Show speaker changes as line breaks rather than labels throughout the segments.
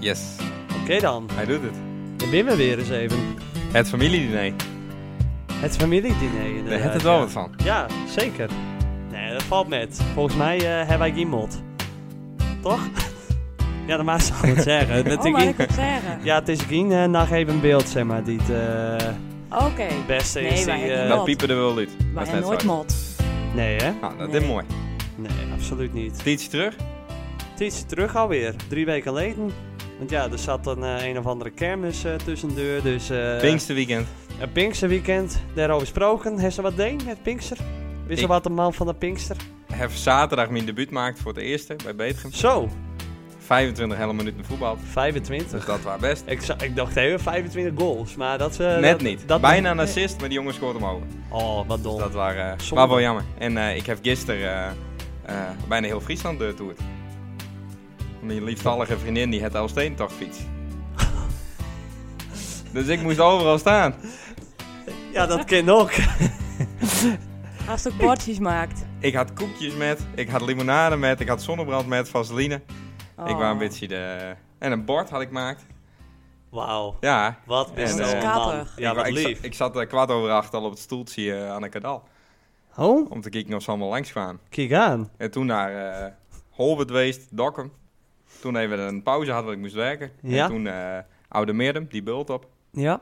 Yes,
Oké dan,
hij doet het.
dan ben we weer eens even.
Het familiediner.
Het familiediner
Daar
inderdaad.
heeft het wel
ja. Eh,
wat van.
Ja, zeker. Nee, dat valt met. Volgens mij eh, hebben wij geen mod. Toch? ja, dat maakt ze al wat zeggen. Dat
Oh,
ik
maar
geen-
ik het zeggen.
Ja, het is geen eh, nog even beeld, zeg maar, die het eh,
Oké.
het beste
Nee,
is.
wij
die,
hebben
eh,
Wat?
Dat piepen er wel uit.
Maar
is
hij
net
nooit
zo.
mot.
nee, hè?
Nou, dat
Nee.
is mooi.
Nee, absoluut niet.
Tietje terug.
Eh. Het is terug alweer, drie weken geleden. Want ja, er zat een, eh, een of andere kermis eh tussendeur, dus... eh,
Pinksterweekend.
Een Pinksterweekend, daarover gesproken. Heeft ze wat deed met Pinkster? Wist ze
Ik-
wat de man van de Pinkster?
Heb zaterdag mijn debuut gemaakt voor het eerste bij Betegem.
Zo,
25 hele minuten voetbal.
25.
Dus dat was best.
Ik, za- ik dacht even 25 goals, maar Eh, dat... eh,
Net
dat-
niet.
dat-
Bijna een assist, maar die jongen scoort hem over.
Oh, wat dom.
Dus dat waren, eh
Zonde.
was wel jammer. En eh, ik heb gisteren eh, eh, bijna heel Friesland doortoerd. Mijn lieftallige vriendin die had al toch fiets. dus ik moest overal staan.
Ja, dat kind ook.
Als je bordjes maakt.
Ik had koekjes met, ik had limonade met, ik had zonnebrand met, vaseline.
Oh.
Ik was een beetje de... En een bord had ik gemaakt.
Wauw,
Ja.
wat
En,
is
eh,
dat man.
Schattig.
Ja,
ik, wa-
wat
ik, za-
lief.
ik zat eh, kwart over acht al op het stoeltje eh, aan de kadal.
Oh,
Om te kijken of ze allemaal langs kwamen.
kijk aan.
En toen naar eh Holbert geweest, Dokkum. Toen even een pauze had, want ik moest werken.
Ja.
En toen eh Oude Meerdem, die bult op.
Ja,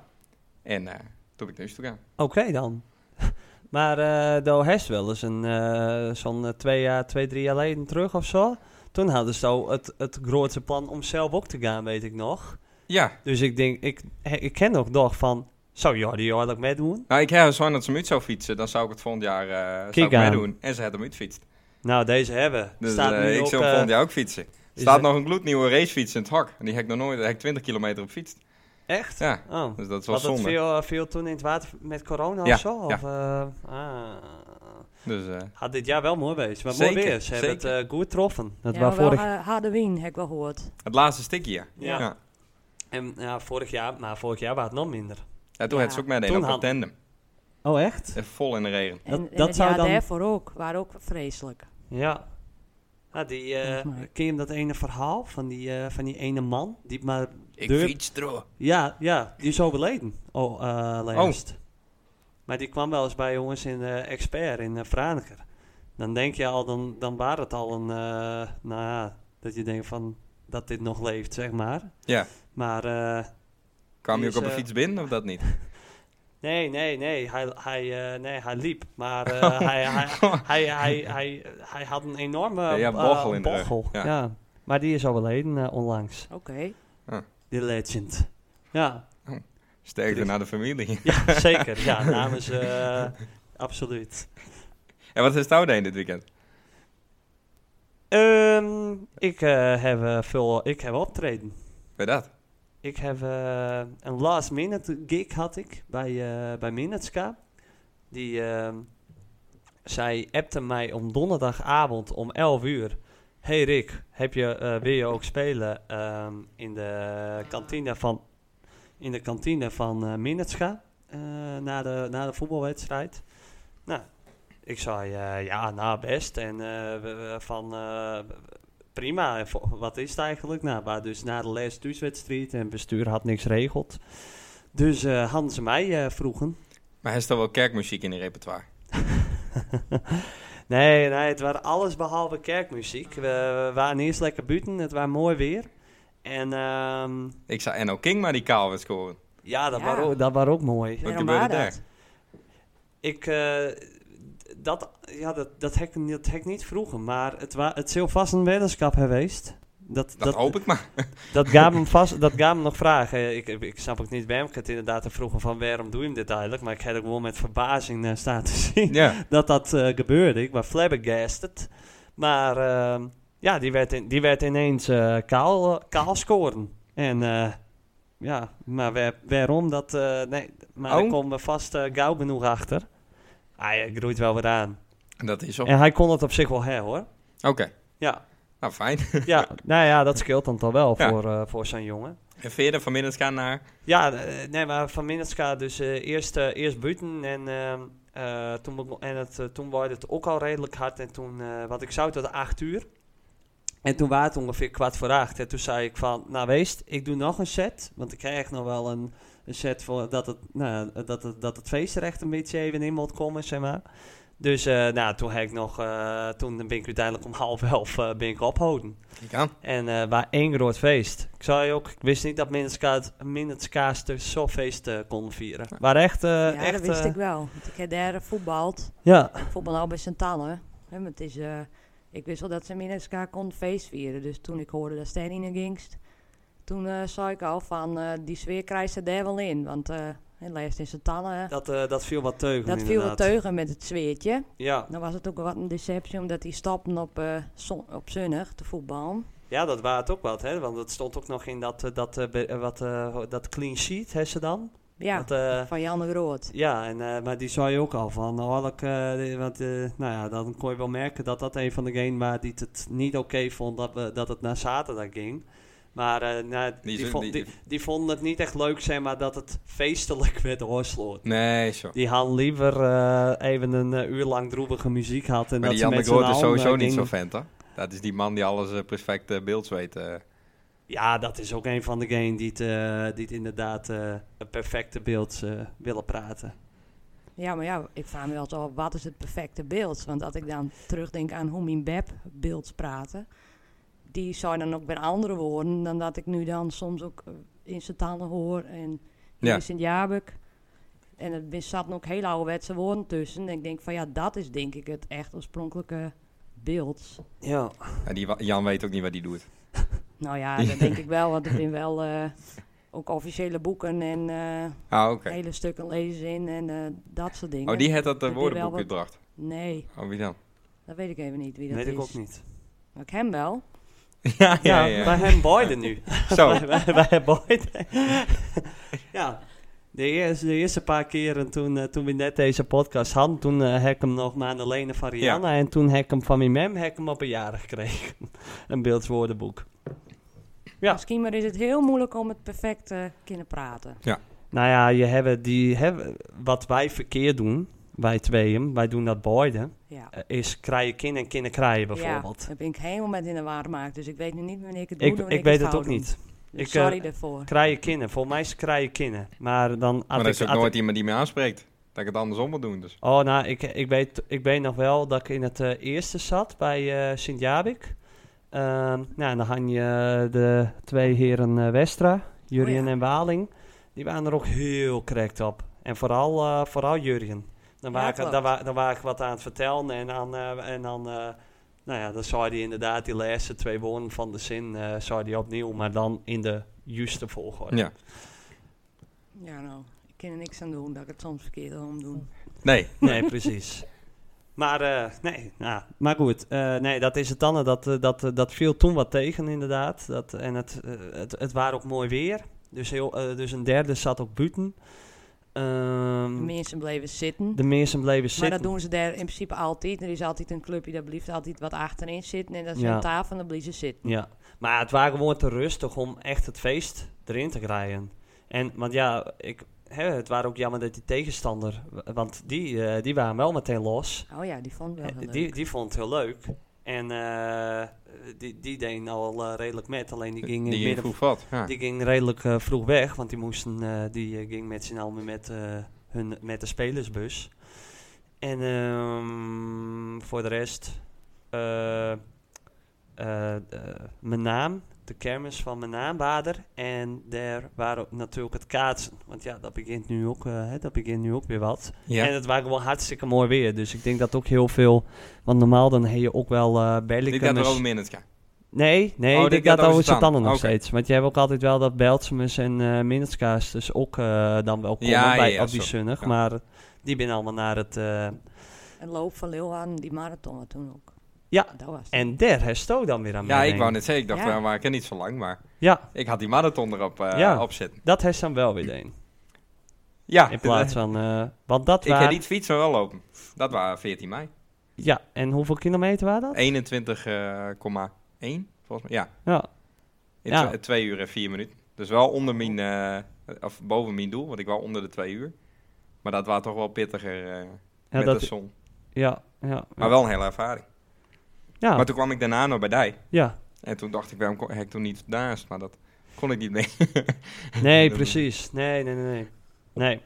En eh, toen ben ik naar huis toe gaan.
oké dan. Maar eh daar heeft wel eens een, eh, zo'n eh, twee, jaar, twee, drie jaar geleden terug of zo. Toen hadden ze al het, het grootste plan om zelf ook te gaan, weet ik nog.
Ja,
Dus ik denk, ik, he- ik ken nog dag van, zou Jordi Jordi ook meedoen?
nou ik heb zo dat ze hem uit zou fietsen. Dan zou ik het volgend jaar eh zou
Kijk
ik
aan.
meedoen. En ze had hem uitfietst.
Nou, deze hebben.
Dus
Staat
eh,
nu
ik
op,
zou
eh,
volgend jaar ook fietsen. Er
is
staat
het-
nog een gloednieuwe racefiets in het hak. En die heb ik nog nooit, daar heb ik 20 kilometer op fietst.
Echt?
Ja,
Oh.
dus dat is wel
Was dat
zonde.
veel, eh, veel toen in het water met corona
Ja,
of zo?
ja.
Of, eh, ah.
Dus eh,
Had dit jaar wel mooi geweest. Maar mooi
Zeker,
weer. Ze hebben het
zeker.
eh, goed getroffen. Dat
ja,
was vorig...
wel, eh, Halloween, heb ik wel gehoord.
het laatste stukje, ja.
Ja.
ja.
En ja, vorig jaar, maar vorig jaar was het nog minder.
Ja, toen
Ja.
had ze ook meteen
Toen
op het
had-
tandem.
Oh, echt?
Eh, Vol in de regen.
En,
Dat-
en
dat
het
zou
jaar
dan-
daarvoor ook. Waren ook vreselijk.
Ja. Ah, die, eh,
Volgens mij.
ken je dat ene verhaal van die, eh, van die ene man? Die maar
Ik
Deur-
fiets door.
Ja, ja, die is overleden. Oh, eh laatst.
Oh.
Maar die kwam wel eens bij jongens in eh Expert in eh Franeker. Dan denk je al, dan, dan waar het al een, eh, nou ja, dat je denkt van, dat dit nog leeft, zeg maar.
Ja.
Maar, eh,
Kwam
Die
je
is,
ook op de
eh,
fiets binnen of dat niet?
nee, nee, nee, hij, hij, eh, nee, hij liep. Maar eh, hij, hij, hij, hij, hij, hij had een enorme
Ja, ja,
eh,
bochel in de rug.
bochel, Ja.
Ja.
maar die is overleden eh, onlangs,
Oké.
die legend. Ja,
Sterkte
Drie.
naar de familie.
ja zeker, ja, namens, eh, absoluut.
En wat is het in dit weekend?
Ehm, ik, eh, heb, eh, veel, ik heb optreden.
Bij dat?
Ik heb eh, een last minute gig had ik bij, eh, bij Minutska. Die, ehm, zij appte mij om donderdagavond om 11 uur. Hey Rick, heb je, eh, wil je ook spelen ehm, in de kantine van, in de kantine van eh Minutska eh, na, de, na de voetbalwedstrijd? Nou, ik zei eh, ja, nou best. En eh, we- we- van eh, prima. En vo- Wat is het eigenlijk? Nou, waar dus na de les thuiswedstrijd en bestuur had niks regeld. Dus eh hadden ze mij eh, vroegen.
Maar hij is toch wel kerkmuziek in die repertoire?
Nee, nee, het waren alles behalve kerkmuziek. We, we waren eerst lekker buiten, het was mooi weer. En ehm,
Ik zou Enno King maar die kaal werd scoren.
ja, dat,
Ja.
waren ook, dat waren ook mooi.
Wat
Waarom
gebeurde
waren
daar?
Ik, eh, dat, ja, dat, dat heb ik niet- dat heb ik niet vroegen, maar het, wa, het zou vast een weddenschap geweest. Dat,
Dat, hoop ik maar.
Dat gaven hem vast, dat gaven hem nog vragen. Ik, ik snap ook niet waarom ik het inderdaad te vroegen van waarom doe je hem dit eigenlijk. Maar ik heb ook gewoon met verbazing eh, staan te zien
ja.
dat dat eh, gebeurde. Ik was flabbergasted. Maar ehm, ja, die werd, in, die werd ineens eh, kaal, kaal scoren. En eh, ja, maar waar- waarom dat... eh, nee, maar
Oh.
ik kom er vast eh, gauw genoeg achter. Hij eh, groeit wel weer aan.
Dat is op.
En hij kon het op zich wel her hoor.
Oké.
Ja,
Nou, fijn.
ja, nou ja, dat scheelt dan toch wel
Ja.
voor, eh, voor zo'n jongen.
En verder vanmiddag gaan naar...
Ja, eh, nee, maar van Minnetka dus eh, eerst, eh, eerst buiten en, ehm, eh, toen, begon- en het, eh, toen was het ook al redelijk hard. En toen, eh, want ik zou tot acht uur. En toen was het ongeveer kwart voor acht. En toen zei ik van, nou weest, ik doe nog een set. Want ik krijg nog wel een, een set voor dat het, nou, dat, het, dat het feestrecht een beetje even in moet komen, zeg maar. Dus eh, nou, toen, heb ik nog, eh, toen ben ik uiteindelijk om half elf eh, ben ik ophouden.
Ik aan.
En eh waar één groot feest. Ik zei ook, ik wist niet dat Minneskaas de feest eh kon vieren. Waar echt... eh,
ja,
echt
dat wist
eh,
ik wel. Want ik heb daar voetbald.
Ja,
Ik voetbal al bij Santana. Hè, maar het is, eh, ik wist wel dat ze in SK kon feest vieren. Dus toen ik hoorde dat Stijn in gingst, toen eh zei ik al van eh, die sfeer krijgt ze daar wel in. Want eh het lijst in Santana,
dat, eh, dat viel wat teugen
dat viel wel
inderdaad.
teugen met het zweertje.
Ja.
Dan was het ook wat een deceptie omdat die stapten op, eh, zon, op zonnig te voetballen.
ja, dat waren het ook wat, hè. Want dat stond ook nog in dat, eh, dat, eh, be- eh, wat, eh, dat clean sheet, hè, ze dan.
Ja,
Dat, eh,
van Jan de Groot.
ja, en, eh, maar die zei ook al van, nou, ik, eh, want, eh, nou ja, dan kon je wel merken dat dat een van degenen was die het niet oké vond dat, we, dat het naar zaterdag ging. Maar eh, nou,
Die
die,
zo-
vond,
die-
die, die vonden het niet echt leuk, zeg maar, dat het feestelijk werd oorsloten.
Nee, zo.
Die had liever eh, even een eh, uur lang droevige muziek had.
Maar
En dat
die
ze
Jan de
met
Groot
z'n
is
allen,
sowieso
eh,
niet
gingen-
zo'n vent, hoor. Dat is die man die alles eh, perfect eh, beeld weet. eh.
Ja, dat is ook een van de game die het, eh, die het inderdaad eh, een perfecte beeld eh, willen praten.
Ja, maar ja, ik vraag me wel zo, wat is het perfecte beeld? Want als ik dan terugdenk aan hoe mijn beb beeld praten, die zou dan ook weer andere woorden dan dat ik nu dan soms ook eh, in zijn talen hoor en
Ja.
ja. in Sint-Jabek. En er mis- zaten ook hele ouderwetse woorden tussen. En ik denk van ja, dat is denk ik het echt oorspronkelijke beeld.
Ja.
En die wa- Jan weet ook niet wat hij doet.
Nou ja, dat denk ik wel, want er zijn wel eh, ook officiële boeken en eh,
Ah, oké.
hele stukken lezen in en eh, dat soort dingen.
Oh, die had dat eh,
die
woordenboek
wel wat-
uitbracht.
Nee,
Oh, wie dan?
dat weet ik even niet wie dat
Weet
is.
ik ook niet.
Maar ik hem wel.
ja, Ah, ja,
Ja,
ja.
wij hebben Boyden nu.
Zo.
wij, wij, wij hebben Boyden. ja. De eerste, de eerste paar keren toen, eh, toen we net deze podcast hadden, toen eh, heb ik hem nog maar aan de lenen van Rihanna. En toen heb ik hem van mijn mem heb ik hem op een jaar gekregen. een beeldswoordenboek. Ja.
Misschien maar is het heel moeilijk om het perfect eh, te kunnen praten.
Nou ja, je hebben die, hebben, wat wij verkeerd doen, wij tweeën, wij doen dat Boyden,
Ja.
eh, is kraaien kin en kinnen kraaien bijvoorbeeld.
Ja, daar ben ik helemaal met in de war gemaakt. Dus ik weet nu niet wanneer ik het doe.
ik
wanneer
ik weet het
fout
ook
doe.
niet.
Dus
Ik,
sorry
eh,
daarvoor.
Kraaien kinnen, voor mij is kraaien kinnen. Maar dan had
Maar er
ik,
is ook
had ik-
nooit iemand die me aanspreekt. Dat ik het andersom moet doen, dus.
Oh, nou, ik, ik, weet, ik weet nog wel dat ik in het eh, eerste zat bij eh Sint-Jabik. Ehm, nou, en dan hang je de twee heren eh, Westra, Jurien
Oh ja.
en Waling. Die waren er ook heel correct op. En vooral, eh, vooral Jurien. Dan
Ja,
waren
klopt.
dan wa- dan waren ik wat aan het vertellen en dan... eh, en dan eh, nou ja, dan zou hij inderdaad die laatste twee woorden van de zin eh zou die opnieuw, maar dan in de juiste volgorde.
Ja.
Ja, nou, ik kan er niks aan doen dat ik het soms verkeerd om doen.
Nee.
Nee, precies. Maar, eh, nee, nou, maar goed, eh, nee, dat is het dan. eh, Dat, eh, dat, eh, dat viel toen wat tegen, inderdaad. Dat, en het, eh, het, het waren ook mooi weer. Dus, heel, eh, dus een derde zat op buiten.
De
Ehm,
mensen bleven zitten.
de mensen bleven
Maar
zitten.
dat doen ze daar in principe altijd. Er is altijd een clubje, daar blijft altijd wat achterin zitten. En dat is
Ja.
een tafel en dan blijven ze zitten.
Ja, maar het waren gewoon te rustig om echt het feest erin te krijgen. En, want ja, ik, hè, het waren ook jammer dat die tegenstander... Want die, eh, die waren wel meteen los.
Oh ja, die vond ik wel heel
Eh,
leuk.
Die, die vond het heel leuk. En eh, die, die deed nou al eh, redelijk met. Alleen die ging, in
Die ging
midden,
vroeg wat. Ja.
die ging redelijk eh, vroeg weg. Want die, moesten, eh, die eh, ging met z'n allen met, eh, hun, met de spelersbus. En ehm, voor de rest... eh, eh, eh, mijn naam, de kermis van mijn naambader. En daar waren natuurlijk het kaatsen. Want ja, dat begint nu ook, eh, hè, dat begint nu ook weer wat.
Ja.
En het waren wel hartstikke mooi weer. Dus ik denk dat ook heel veel. Want normaal dan heb je ook wel eh
Ik had er
Berlikemus.
ook minutes gaan.
Nee, nee,
Oh, dit
ik denk
gaat
dat
over
over
Stan.
Satannen nog
Oké.
steeds. Want je hebt ook altijd wel dat Beltsemus en eh Minutskaas dus ook eh, dan wel komen
Ja, ja,
bij,
ja,
op die
zo.
zonnig.
Ja.
Maar die ben allemaal naar het... eh,
En loop van Leeuwarden, die marathon was toen ook.
Ja,
Dat was het.
en daar hesto dan weer aan
Ja, ik
meedenken.
wou net zeggen, ik dacht,
Ja.
waar waar ik er niet zo lang, maar
Ah, Ja,
ik had die marathon erop eh
Ja.
op zitten.
dat heeft dan wel weer een.
Ja,
In plaats van... eh, want dat
ik heb
waren...
niet fietsen, maar wel lopen. Dat was 14 mei.
Ja, en hoeveel kilometer waren dat?
21,1 eh, volgens mij. Ja,
Ja,
in
Ja.
tw- twee uur en vier minuten. Dus wel onder mijn, eh, of boven mijn doel, want ik was onder de twee uur. Maar dat was toch wel pittiger eh,
ja,
met
dat,
de zon.
ja, ja, ja.
Maar wel een hele ervaring.
Ja,
Maar toen kwam ik daarna nog bij Dij.
ja.
En toen dacht ik, waarom kon- heb ik toen niet naast? Maar dat kon ik niet mee.
Nee,
Dat-
precies. Nee, nee, nee, nee. Nee.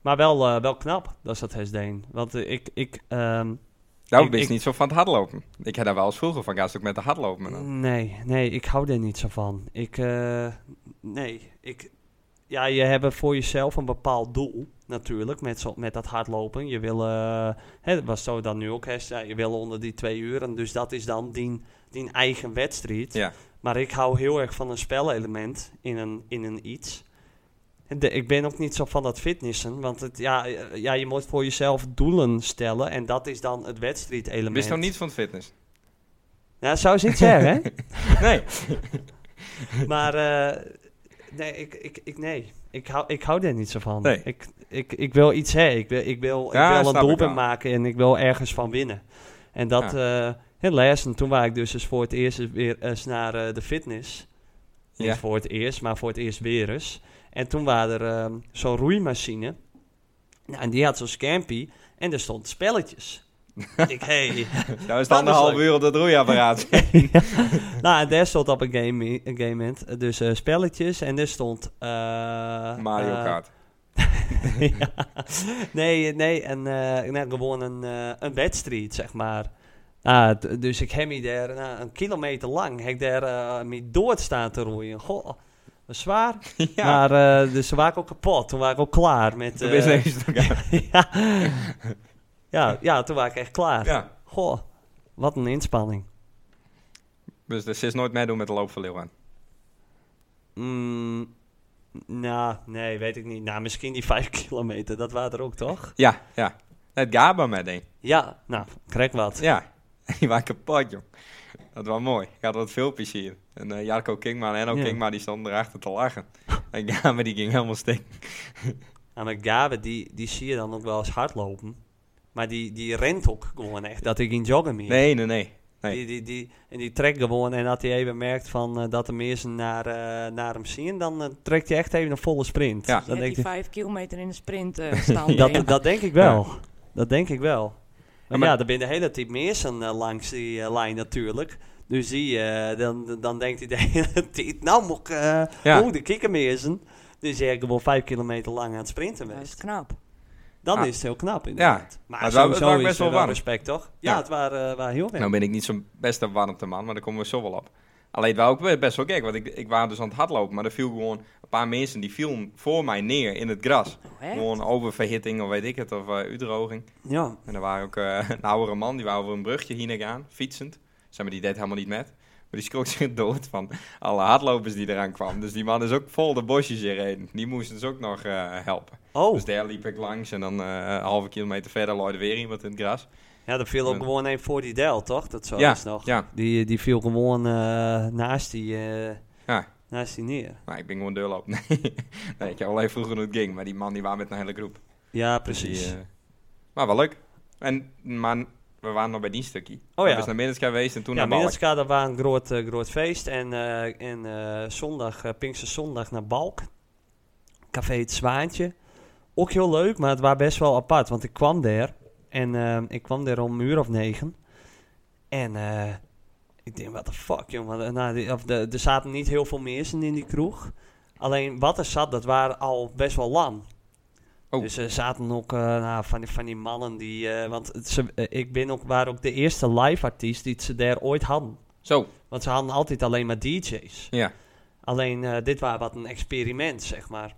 Maar wel, eh, wel knap, dat is dat Hesdeen. Want eh, ik... ik ehm,
Nou,
Ik-
ik ben
ik-
niet zo van het hardlopen. Ik heb daar wel eens vroeger van gast ook met de hardlopen. dan.
nee, nee, ik hou er niet zo van. Ik... eh, nee, ik... Ja, je hebt voor jezelf een bepaald doel, natuurlijk, met, zo, met dat hardlopen. Je wil... eh, hè, dat was zo dan nu ook, hè, zei, je wil onder die twee uren. Dus dat is dan die, die eigen wedstrijd.
Ja.
Maar ik hou heel erg van een spelelement in een, in een iets. En de- ik ben ook niet zo van dat fitnessen. Want het, ja, eh, ja, je moet voor jezelf doelen stellen. En dat is dan het wedstrijdelement.
Wist nou niet van het fitness?
Nou, zou ze niet zeggen, hè?
Nee.
Maar eh, nee, ik, ik, ik, nee. Ik, hou, ik hou daar niet zo van.
Nee.
Ik, ik, ik wil iets hebben. Ik wil, ik wil,
Ja,
ik wil
snap
een
ik
doelpunt
wel.
maken en ik wil ergens van winnen. En dat, eh het lessen, toen was ik dus eens voor het eerst eens weer eens naar eh, de fitness. Niet
Ja.
voor het eerst, maar voor het eerst weer eens. En toen was er ehm, zo'n roeimachine. Nou, en die had zo'n scampy. En er stond spelletjes. ik denk, hey,
Nou is
Dat
het
is
anderhalf
leuk.
uur op dat roeiapparaat.
ja. Nou, en daar stond op een game, een game moment, dus eh, spelletjes. En daar stond... eh,
Mario
eh,
Kart.
ja. Nee, nee. En eh, nou, gewoon een, eh, een wedstrijd, zeg maar. Ah, d- dus ik heb me daar nou, een kilometer lang heb ik daar eh, mee door te staan te roeien. Goh, was zwaar.
ja.
Maar eh, dus toen was ik ook kapot. Toen was ik ook klaar met...
Toen
eh,
wist ik het ook.
ja. ja, ja, toen was ik echt klaar.
Ja.
Goh, wat een inspanning.
Dus dat is nooit meedoen met de loop van Leeuwen.
Mm, nou, nee, weet ik niet. Nou, misschien die vijf kilometer, dat waren er ook, toch?
Ja, ja. Het Gaba met een.
Ja, nou, krijg wat.
Ja. Die waren kapot, joh. Dat was mooi. Ik had wat filmpjes hier. En eh, Jarko Kingma en Enno
Ja.
Kingma die stonden erachter te lachen. En Gaba die ging helemaal stik.
Nou, maar Gabe, die, die zie je dan ook wel eens hardlopen. Maar die, die rent ook gewoon echt, dat ik in joggen meer.
Nee, nee, nee. nee.
Die, die, die, en die trekt gewoon en dat hij even merkt van, eh, dat de mensen naar, eh, naar hem zien, dan eh, trekt hij echt even een volle sprint.
Ja.
dan
Zet
denk
die
ik,
vijf kilometer in de sprint eh stand.
dat, dat denk ik wel. Dat denk ik wel. Maar,
Ja, maar-
ja, er zijn de hele tijd mensen eh, langs die eh, lijn natuurlijk. Dus die, eh, dan, dan denkt hij de hele tijd, nou moet ik, eh
Ja.
oeh, de kikkermeersen. Dus jij gewoon vijf kilometer lang aan het sprinten
dat is
bent.
knap.
Dan
Ah.
is het heel knap inderdaad. Maar,
het wou- het
sowieso
wou
is
best
er
wel
wel
warm.
respect, toch? Ja,
Ja.
het waren, eh, waren heel warm.
Nou ben ik niet zo'n beste warmteman, maar daar komen we zo wel op. Alleen het was ook be- best wel gek, want ik, ik was dus aan het hardlopen, maar er viel gewoon een paar mensen die vielen voor mij neer in het gras.
Oh, hè?
Gewoon oververhitting of weet ik het, of eh uitdroging.
ja.
En er waren ook eh, een oudere man, die wou over een brugje heen gaan, fietsend. Zeg maar, die deed helemaal niet met. Maar die schrok zich dood van alle hardlopers die eraan kwamen. Dus die man is ook vol de bosjes hierheen. Die moesten dus ook nog eh, helpen.
Oh,
Dus daar liep ik langs en dan eh, een halve kilometer verder looide weer iemand in het gras.
ja, er viel ook
Ja.
gewoon een voor die Del, toch? Dat zo
ja,
is nog.
ja.
Die, die viel gewoon eh, naast, die, eh,
Ja.
naast die neer.
Maar ik ben gewoon deurloop. Nee. nee, ik heb alleen vroeger hoe het ging. Maar die man die was met een hele groep.
Ja,
Dus die,
precies.
eh, maar wel leuk. En, maar we waren nog bij die stukje.
Oh ja.
We zijn dus naar Middenska geweest en toen
ja,
naar Balk.
Middelska, dat was een groot, eh, groot feest. En, eh, en eh, zondag, eh, Pinkse Zondag naar Balk. Café Het Zwaantje. Ook heel leuk, maar het was best wel apart. Want ik kwam daar. En eh, ik kwam daar om een uur of negen. En eh, ik denk, what the fuck, jongen. Nou, die- of de, er zaten niet heel veel mensen in die kroeg. Alleen wat er zat, dat waren al best wel lang.
Oh.
Dus er zaten ook eh, nou, van, die, van die mannen die... eh, want het- ze, eh, ik ben ook, waren ook de eerste live artiest die ze daar ooit hadden.
Zo,
Want ze hadden altijd alleen maar DJ's.
ja.
Alleen eh, dit was wat een experiment, zeg maar.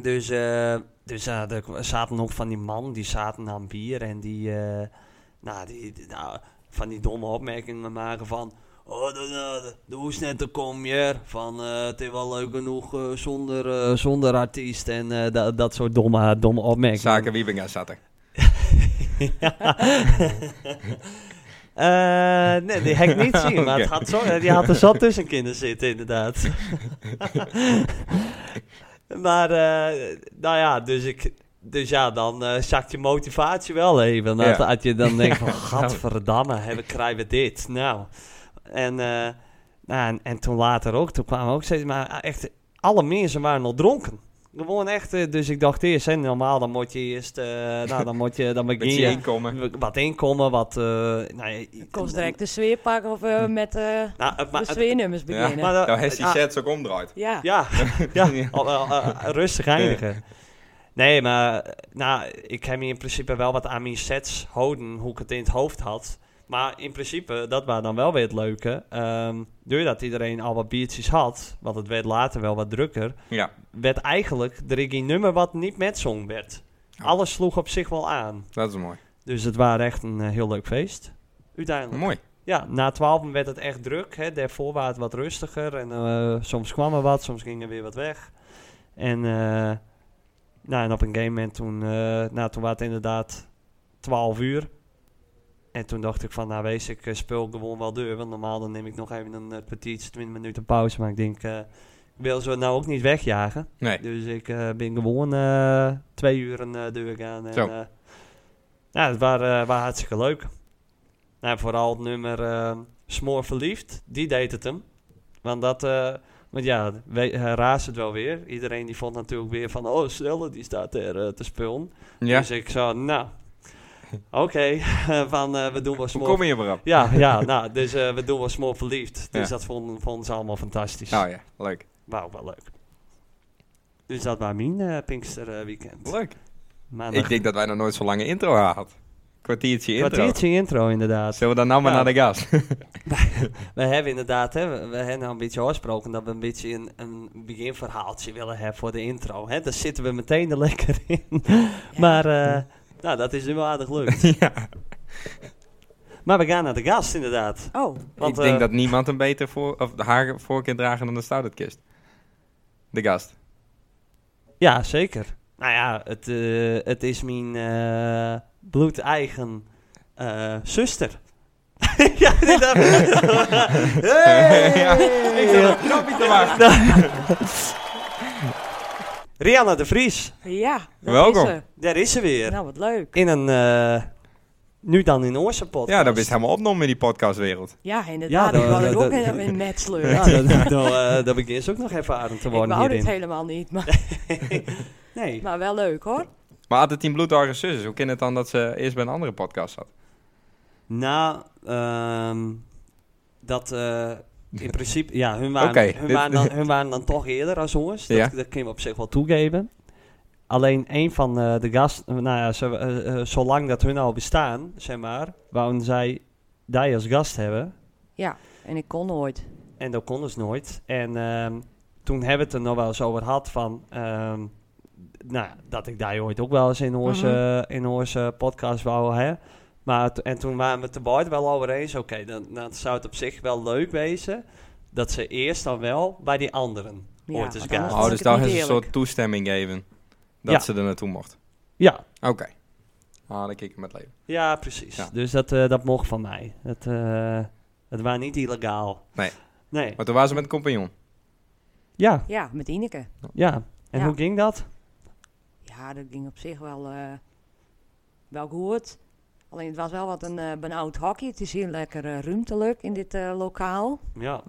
Dus, eh, dus eh, er kwa- zaten ook van die man, die zaten aan bier en die, eh, nou, die, die- nou, van die domme opmerkingen maken van... Oh, de, de, de hoesnetten kom je er. Van, eh, het is wel leuk genoeg eh, zonder, eh, zonder artiest en eh, dat- dat soort domme, domme opmerkingen.
Zaken Wiebinga zat er.
Ja. Eh, nee, die heb ik niet zien, maar het
Oké.
had zo, eh, die had er zo tussen kunnen zitten, inderdaad. maar, eh, nou ja, dus, ik, dus ja, dan eh, zakt je motivatie wel even.
Ja.
Als, als je dan denkt van, gadverdamme, hè, we krijgen dit. Nou, en, eh, nou en, en toen later ook, toen kwamen ook steeds, maar echt, alle mensen waren al dronken. Gewoon echt, eh, dus ik dacht eerst, hè, normaal dan moet je eerst, eh, nou dan moet je, dan begin
Met je
je
inkomen.
wat inkomen, wat, eh nou ja, i-
Kost direct de sfeer pakken of eh, met eh,
Nou, eh,
de
maar, eh,
sfeernummers
Ja.
beginnen. Ja,
maar, eh,
Nou, heeft die
ah,
sets ook omdraait.
ja.
Ja, ja. al- al- al- al- rustig eindigen. Nee, maar eh, nou, ik heb me in principe wel wat aan mijn sets houden, hoe ik het in het hoofd had. Maar in principe, dat was dan wel weer het leuke. Ehm doordat iedereen al wat biertjes had, want het werd later wel wat drukker,
Ja.
werd eigenlijk de Riggy nummer wat niet met zong werd.
Oh.
Alles sloeg op zich wel aan.
Dat is mooi.
Dus het was echt een eh, heel leuk feest. Uiteindelijk.
Mooi.
Ja, na 12 werd het echt druk. Hè. Daarvoor was het wat rustiger. En eh, soms kwam er wat, soms ging er weer wat weg. En, eh, nou, en op een gegeven moment toen, eh, nou, toen was het inderdaad 12 uur. En toen dacht ik van, nou wees, ik eh, speel gewoon wel deur. Want normaal dan neem ik nog even een eh, kwartiertje, 20 minuten pauze. Maar ik denk, eh, ik wil ze nou ook niet wegjagen.
Nee.
Dus ik eh, ben gewoon eh, twee uur een eh, deur gaan. En,
Zo.
eh, nou, het was eh, was hartstikke leuk. Nou, vooral het nummer eh, Smoor Verliefd, die deed het hem. Want dat, eh, want ja, we, eh, raast het wel weer. Iedereen die vond natuurlijk weer van, oh, Stelle, die staat er eh, te spullen.
Ja.
Dus ik zo, nou, oké, van eh, we doen wel
Hoe
Smoor...
kom je erop?
Ja, ja, nou, dus eh, we doen wel Smoor Verliefd. Dus
Ja.
dat vonden, vonden ze allemaal fantastisch.
Nou ja, leuk.
Wauw, wel leuk. Dus dat was mijn eh, Pinkster eh, weekend.
Leuk.
Maandag.
Ik denk dat wij nog nooit zo'n lange intro hadden. Kwartiertje intro.
Kwartiertje intro, inderdaad.
Zullen we dan nou maar
Ja.
naar de gast?
We hebben inderdaad, hè, we, we hebben nou een beetje afgesproken dat we een beetje een, een beginverhaaltje willen hebben voor de intro. Hè? Daar zitten we meteen er lekker in. Maar eh, nou, dat is nu wel aardig leuk.
ja.
Maar we gaan naar de gast, inderdaad.
Oh,
Want,
ik denk
eh,
dat niemand een beter voor, of haar voorkeur dragen dan de stouterkist. De gast.
Ja, zeker. Nou ja, het, eh, het is mijn eh bloedeigen eh, zuster. ja, dit heb
Ja. Ik zat op het knopje te wachten.
Rihanna de Vries,
ja. dat is
Welkom.
ze.
daar is ze weer.
Nou, wat leuk.
In een, eh, nu dan in onze podcast.
Ja, dat is helemaal opgenomen in die podcastwereld.
Ja, inderdaad.
Ja,
ik wou
dat-
het ook
dat-
helemaal in met sleuren.
Ja, dat, dat, eh, dat begint ze ook nog ervaren te
ik
worden
wou dit
hierin.
helemaal niet, maar,
Nee.
maar wel leuk hoor.
Maar had het in bloedarge zus is, hoe kan het dan dat ze eerst bij een andere podcast zat?
Nou, ehm, dat eh, in principe, ja, hun waren,
Oké,
hun,
dit-
waren dan, hun waren dan toch eerder als ons. Dat,
Ja.
dat kun je op zich wel toegeven. Alleen een van eh, de gasten, nou ja, ze, eh, eh, zolang dat hun al bestaan, zeg maar, wouden zij die als gast hebben.
Ja, en ik kon nooit.
En dat konden ze nooit. En ehm, toen hebben we het er nog wel eens over gehad van, ehm, nou, dat ik daar ooit ook wel eens in onze, in onze podcast wou, hè. Maar t- en toen waren we het er beide wel over eens, oké, dan, dan zou het op zich wel leuk wezen dat ze eerst dan wel bij die anderen
Ja,
ooit eens
want
gaan.
anders-
Oh,
vond
dus
ik het
daar
niet
is een
eerlijk.
soort toestemming geven dat
Ja.
ze er naartoe mocht.
Ja,
Oké. Ah, dan kijk ik met leven.
ja, precies.
Ja.
Dus dat, eh, dat mocht van mij. Dat, eh het was niet illegaal.
Nee.
Nee,
Maar toen waren ze met een compagnon.
ja,
Ja, met Ineke.
ja. En
Ja.
hoe ging dat?
Ja, dat ging op zich wel, eh wel goed. Alleen het was wel wat een eh benauwd hockey. Het is heel lekker eh, ruimtelijk in dit eh, lokaal.
Ja,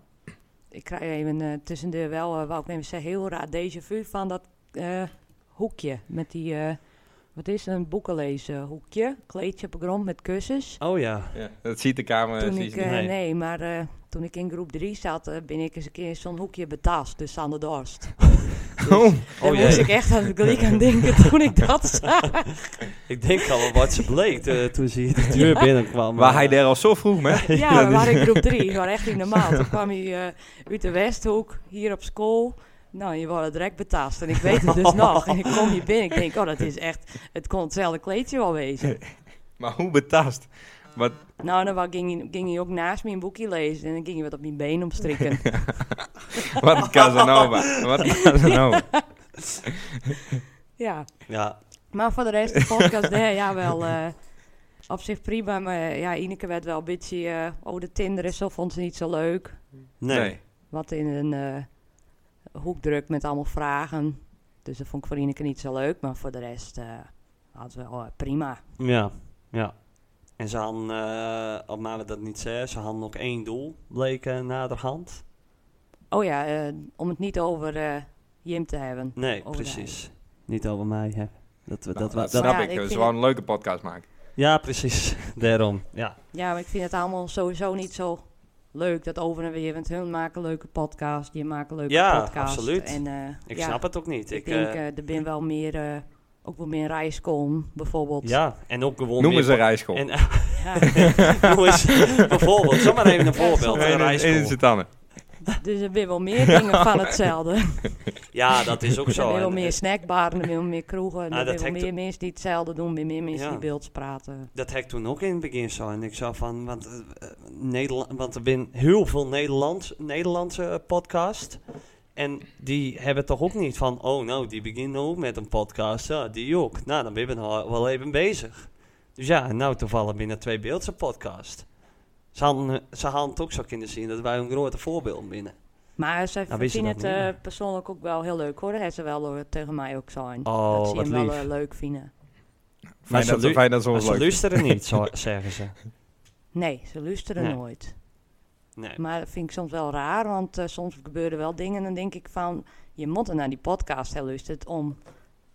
Ik krijg even eh tussendoor wel, eh wou ik even zeggen, heel raar déjà vu van dat eh, hoekje. Met die, eh, wat is het, een boekenlezen hoekje. Kleedje op de grond met kussens.
oh ja.
Ja. Dat ziet de kamer.
toen
precies
ik,
niet.
eh,
Nee.
nee. maar eh, toen ik in groep 3 zat, eh, ben ik eens een keer in zo'n hoekje betast. Dus aan de dorst. Dus
Oh,
Oh
Daar moest
jee.
ik echt aan het gelijk aan denken toen ik dat zag.
Ik denk al wat ze bleek eh, toen ze hier de deur binnenkwam. eh,
waar hij daar al zo vroeg mee?
Ja, we waren in groep 3. We waren echt niet normaal. Toen kwam hij eh, uit de Westhoek, hier op school. Nou, je wordt direct betaast. En ik weet het dus nog. En ik kom hier binnen. Ik denk, oh, dat is echt... Het kon hetzelfde kleedje wel wezen.
Maar hoe betast? Wat,
Nou, en dan wa- ging hij, ging hij ook naast me een boekje lezen. En dan ging hij wat op mijn been omstrikken.
wat Casanova? Wat Casanova?
Ja.
Ja,
Maar voor de rest, de podcast, nee, ja, wel... eh, op zich prima, maar eh, ja, Ineke werd wel een beetje... eh, oh, de Tinder is zo, vond ze niet zo leuk.
nee.
wat in een eh, hoekdruk met allemaal vragen. Dus dat vond ik voor Ineke niet zo leuk, maar voor de rest eh had wel eh, prima.
Ja, ja. En ze hadden, eh al maar we dat niet zeggen, ze hadden nog één doel, bleek eh, naderhand.
Oh ja, eh, om het niet over eh, Jim te hebben.
Nee,
Over
precies. Niet over mij, hè. Dat, we,
Nou,
dat, wa- dat,
snap
Ja,
ik.
ik
Dat is
vind
gewoon een leuke podcast maken.
ja, precies. Daarom, ja.
Ja, maar ik vind het allemaal sowieso niet zo leuk dat over en weer. Want hun maken een leuke podcast, die maken een leuke
Ja,
podcast.
absoluut.
En, eh,
Ik
ja,
snap het ook niet.
Ik,
Ik,
denk,
eh,
eh, er ben wel meer, eh, ook wel meer rijskolm bijvoorbeeld.
ja, en ook gewoon
Noemen
meer
ze rijschool.
En,
Ja.
noem eens, bijvoorbeeld, zomaar even een voorbeeld.
Nee,
Een
in, in
rijschool.
zijn tanden.
Dus er ben wel meer dingen van hetzelfde.
Ja, dat is ook
er
zo.
ben wel
En, eh,
meer snackbaren, er ben wel meer kroegen.
Ah,
er ben
dat
wel
hekt-
meer mensen die hetzelfde doen, er ben meer mensen
Ja.
die beelds praten.
Dat heb ik toen ook in het begin zo. En ik zo van, want, eh, eh, Nederland, want er zijn heel veel Nederlands, Nederlandse eh, podcasts. En die hebben toch ook niet van, oh nou, die beginnen ook met een podcast. Ja, die ook. Nou, dan ben je nou wel even bezig. Dus ja, en nou toevallig binnen twee beeldse podcast. Ze halen, eh, ze halen het ook zo kunnen zien dat wij een grote voorbeeld binnen.
Maar zij
Nou, wist je
vinden
dat
het
niet,
eh,
maar-
persoonlijk ook wel heel leuk hoor. Dat hebben ze wel eh, tegen mij ook zijn.
Oh,
dat ze
wat
hem wel
lief.
eh, leuk vinden.
Maar
Fijn dat,
ze lu-
fijn dat ze
Maar
ons
ze
leuk
luisteren niet, zo, zeggen ze.
Nee, ze luisteren
Nee.
nooit.
Nee.
Maar dat vind ik soms wel raar, want eh, soms gebeuren wel dingen en dan denk ik van... Je moet er naar die podcast hebben luisteren om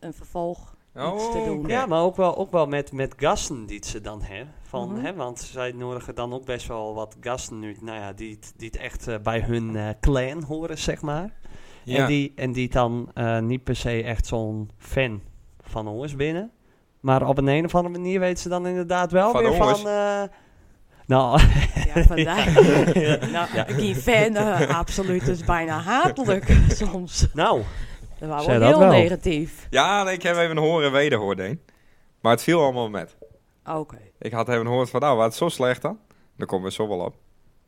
een vervolg...
vinden.
iets te
Oh,
doen.
oké.
Ja, maar ook wel, ook wel met, met gasten die ze dan hebben. Van,
Mhm.
hè, want zij nodigen dan ook best wel wat gasten nu, nou ja, die, het- die het echt eh, bij hun eh, clan horen, zeg maar. En,
Ja.
die, en die dan eh, niet per se echt zo'n fan van ons binnen. Maar op een, een of andere manier weten ze dan inderdaad wel
Van
weer
ons?
van... eh, nou,
Ja, vandaag. nou, die fan, eh, absoluut, is bijna hatelijk soms.
nou,
Dat was
Zei
wel
dat
heel
wel.
negatief.
Ja, nee, ik heb even een horen en wederhoor deed. Maar het viel allemaal met.
Oké.
Ik had even gehoord van, nou, wat zo slecht dan? Dan komen we zo wel op.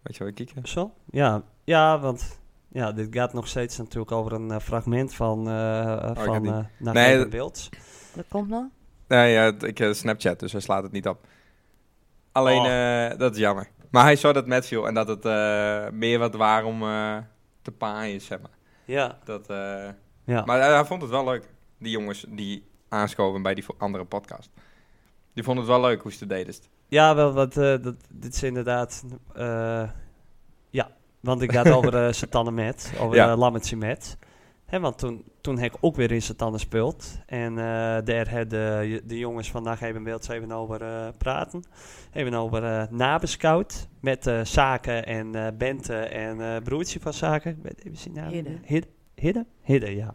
Weet je wel, kieken.
Zo? Ja, ja want ja, dit gaat nog steeds natuurlijk over een eh, fragment van, eh eh,
Oh, ik
van
had die-
eh naar
Nee,
Peter
dat-
Wilds.
Dat komt nog.
Nee, ja, het- ik eh, Snapchat, dus hij slaat het niet op. Alleen,
Oh.
eh, dat is jammer. Maar hij zou dat met viel en dat het eh, meer wat waar om eh, te paaien is, zeg maar.
Ja,
Dat, eh,
ja.
Maar hij, hij vond het wel leuk, die jongens die aanschoven bij die vo- andere podcast. Die vonden het wel leuk hoe ze het deden.
ja wel, wat, eh, dat, dit is inderdaad... eh, ja, want ik had over eh Satannen met, over
Ja.
ja. met. Hè, want toen, toen heb ik ook weer in Satannen speeld. En eh, daar hebben de jongens vandaag even Wilds even over eh, praten. Even over eh nabeschouwd. Met eh, Zaken en eh Bente en eh, broertje van Zaken. Ik weet even zijn naam.
Hidde.
niet. Hid- Hidde? Hidde, ja.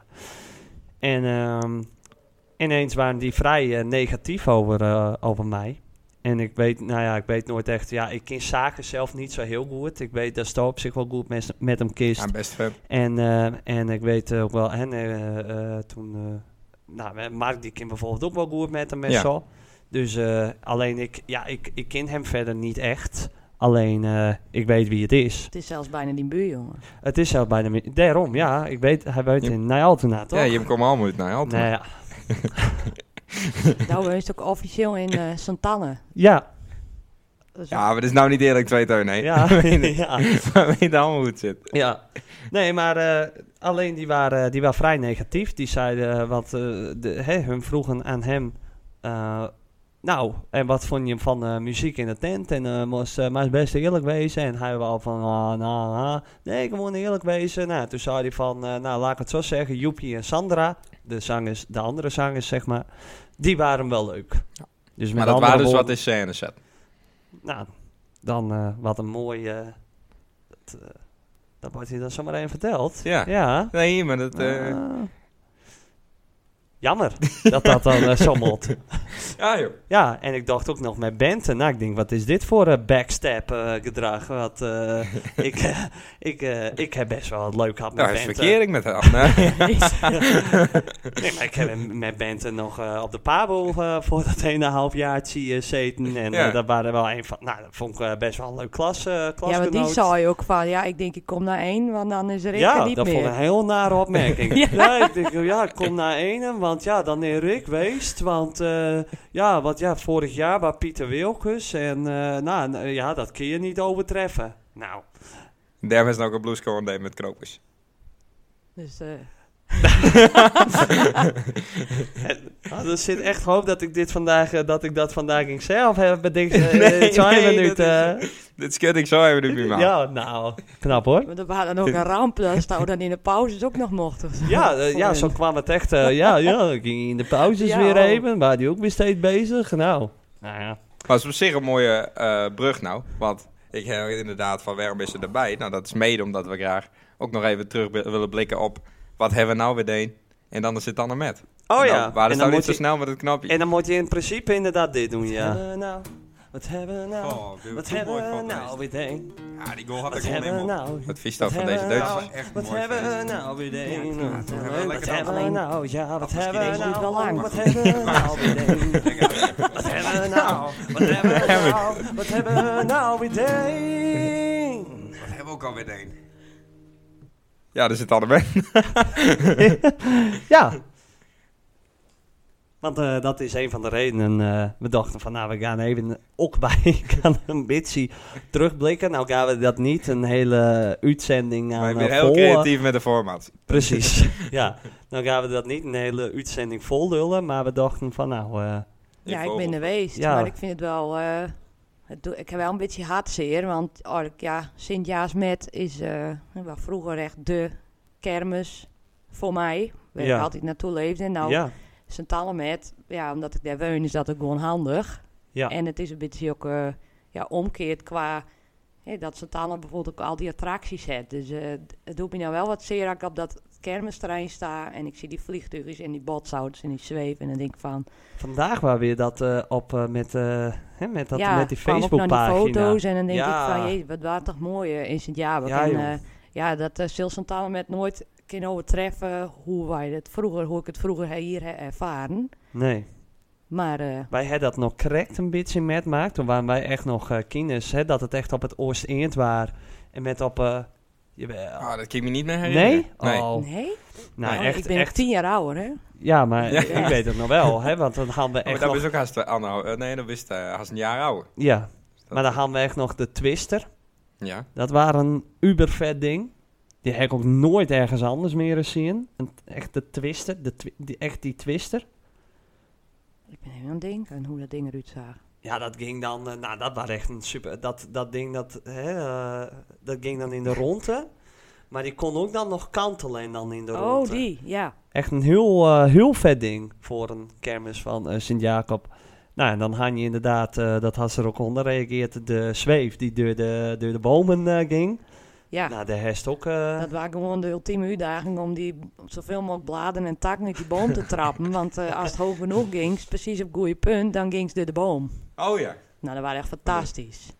En ehm, ineens waren die vrij eh, negatief over, eh, over mij. En ik weet, nou ja, ik weet nooit echt. Ja, ik ken Zaken zelf niet zo heel goed. Ik weet dat Sto op zich wel goed mes- met hem kist.
Ja, best vet.
En, eh, en ik weet ook wel, en eh, eh, toen, eh, nou, eh, Mark die kan bijvoorbeeld ook wel goed met hem en
Ja.
zo. Dus eh, alleen ik, ja, ik, ik ken hem verder niet echt. Alleen eh, ik weet wie het is.
Het is zelfs bijna die buurjongen.
Het is zelf bijna, mi- daarom ja, ik weet, hij woont
Ja.
in Nijaltena toch?
Ja, je komt allemaal uit naar Alten.
nou, ja.
nou, hij is ook officieel in eh Santanne.
Ja,
Dat is
Ja, maar dat is nou niet eerlijk, twee teun, nee.
ja,
We weten-
ja.
we weten allemaal hoe het zit.
Ja, nee, maar eh, alleen die waren, die waren vrij negatief. Die zeiden, eh, wat de, hè, hun vroegen aan hem, eh, nou, en wat vond je van eh, muziek in de tent? En eh moest eh, maar eens best eerlijk wezen. En hij was al van, ah, nou, ah, nee, ik moet eerlijk wezen. Nou, toen zei hij van, eh, nou, laat ik het zo zeggen, Joepie en Sandra, de, zangers, de andere zangers, zeg maar, die waren wel leuk. Dus met
Maar dat
andere
waren dus
woorden-
wat in scène zet.
nou, dan eh, wat een mooi. eh, dat, eh, dat wordt hier dan zomaar even verteld.
Ja.
ja.
Nee, maar dat... eh,
Ah. jammer dat dat dan eh, zo mot.
Ja, joh.
Ja, en ik dacht ook nog met Bente. Nou, ik denk, wat is dit voor eh, backstab eh, gedrag? Wat, eh, ik, eh, ik, eh, ik heb best wel wat leuk gehad met
Nou, is
Bente.
verkeering met haar. Nee.
Nee, maar ik heb hem met Bente nog eh, op de Pabo eh, voor dat ene halfjaartje eh, zeten. En
Ja.
eh, dat waren wel een van... Nou, dat vond ik eh, best wel een leuk klas, eh
ja, maar die
klasgenoot.
zou je ook van, ja, ik denk ik kom naar één, want dan is er één
Ja,
niet
dat vond ik
meer.
een heel nare opmerking. ja.
Ja.
ik denk, ja, ik kom naar ene, want ja, dan is Rick geweest. Want eh, ja, wat, ja, vorig jaar was Pieter Wilkes en eh, nou, n- ja, dat kun je niet overtreffen. Nou,
nou Daarom is het ook een bluescore met Krokus.
Dus eh,
Ah, er zit echt hoop dat ik dit vandaag, eh, dat ik dat vandaag in zelf heb bedenkt. eh,
Nee,
twee
nee, dat
minuten.
Dit kut ik zo even de buurman.
ja, nou, knap hoor.
Want er waren dan ook een ramp, dat staan we dan in de pauzes ook nog mochten.
Ja, eh, ja, zo kwam het echt. eh, ja, ja, ik ging in de pauzes
Ja,
weer
oh.
even. Waren die ook weer steeds bezig? Nou, nou ja.
Maar het is op zich een mooie eh, brug nou. Want ik heb inderdaad van waarom is ze erbij? Nou, dat is mede omdat we graag ook nog even terug bi- willen blikken op wat hebben we nou weer deen. En dan zit dan een met.
Oh
En dan-
ja.
Waar
en,
is
dan
nou
moet
niet zo
je,
snel met het knopje?
en dan moet je in principe inderdaad dit doen, ja.
hebben
nou? Wat hebben we nou?
Oh, dit was zo mooi van geweest.
weer ding?
Ja, die goal had ik
Wat
gewoon
hebben we
helemaal.
nou?
Het vies dat
Wat
van deze
hebben we
Duitsers.
nou?
echt
Wat
mooi
hebben we
feest.
nou weer ding?
Ja,
Wat
toen hebben we
hebben
lekker
we
alleen-
nou? Ja, wat
Misschien
hebben we
deze
duurt wel
nou?
lang.
Wat hebben we nou weer ding? Wat hebben we nou? Wat hebben we nou? Wat hebben we nou weer ding?
Wat hebben we ook alweer deen? Ja, daar zit dan een met.
Ja. Want eh, dat is een van de redenen. eh, we dachten van, nou, we gaan even ook bij ambitie terugblikken. Nou gaan we dat niet een hele uitzending aan
Maar ik
eh,
ben heel
vol, eh,
creatief met de format.
Precies, ja. Nou gaan we dat niet een hele uitzending vol lullen. Maar we dachten van, nou, eh,
Ja, ik
vogel.
ben er geweest,
Ja.
maar ik vind het wel... eh, het doe- ik heb wel een beetje hartzeer, want oh, ik- ja, Sint-Jaasmet is eh, wel vroeger echt de kermis voor mij. Waar
Ja.
ik altijd naartoe leefde. En nou,
ja.
Sint-Allemet, ja, omdat ik daar woon, is dat ook gewoon handig.
Ja.
En het is een beetje ook eh, ja, omkeerd qua... hè, dat Sint-Anne bijvoorbeeld ook al die attracties heeft. Dus eh, d- het doet me nou wel wat zeer dat ik op dat kermisterrein sta... en ik zie die vliegtuigjes en die botsauto's en die zweven... en dan denk ik van...
Vandaag waren weer dat eh, op eh, met, eh, hè, met, dat, met die
kwam ook naar
Facebookpagina.
die foto's en dan denk
Ja.
ik van, jee, wat waren toch mooi eh, in Sint-Jabek.
Ja,
en,
joh.
eh, ja, dat uh, Sils met nooit kunnen overtreffen hoe wij het vroeger, hoe ik het vroeger hier he- ervaren.
Nee.
Maar eh,
Wij hebben dat nog correct een beetje met maakt. Toen waren wij echt nog eh kinders. Hè, dat het echt op het Oost-Eend was. En met op... eh jawel.
Ah, dat kan ik me niet meer herinneren.
nee? Oh.
nee,
Nou,
Nou,
echt,
ik ben
echt.
tien jaar ouder, hè.
Ja, maar
Ja.
ik weet het nog wel. Hè, want dan gaan we
Oh, maar
echt
dat
nog...
is ook haast, eh, anno, eh, nee, dat wist eh haast een jaar ouder.
Ja.
dat-
Maar dan gaan we echt nog de Twister.
Ja.
Dat waren een ubervet ding. Die heb ik ook nooit ergens anders meer eens zien. Een- Echt de Twister. De twi- die, echt die Twister.
Ik ben helemaal aan het denken hoe dat ding eruit zag.
Ja, dat ging dan, eh, nou dat was echt een super, dat, dat ding dat, hè, eh, dat ging dan in de ronde. Maar die kon ook dan nog kantelen en dan in de
Oh,
ronde.
die, ja.
Echt een heel, eh, heel vet ding voor een kermis van eh, Sint-Jacob. Nou, en dan hang je inderdaad, eh, dat had ze er ook onder reageerd, de zweef die door de, door de bomen eh, ging.
Ja,
Nou, de herst ook. eh,
dat waren gewoon de ultieme uitdaging om die zoveel mogelijk bladeren en takken uit die boom te trappen. Want eh, als het hoog genoeg ging, precies op het goede punt, dan ging ze door de boom.
Oh ja.
Nou, dat was echt fantastisch.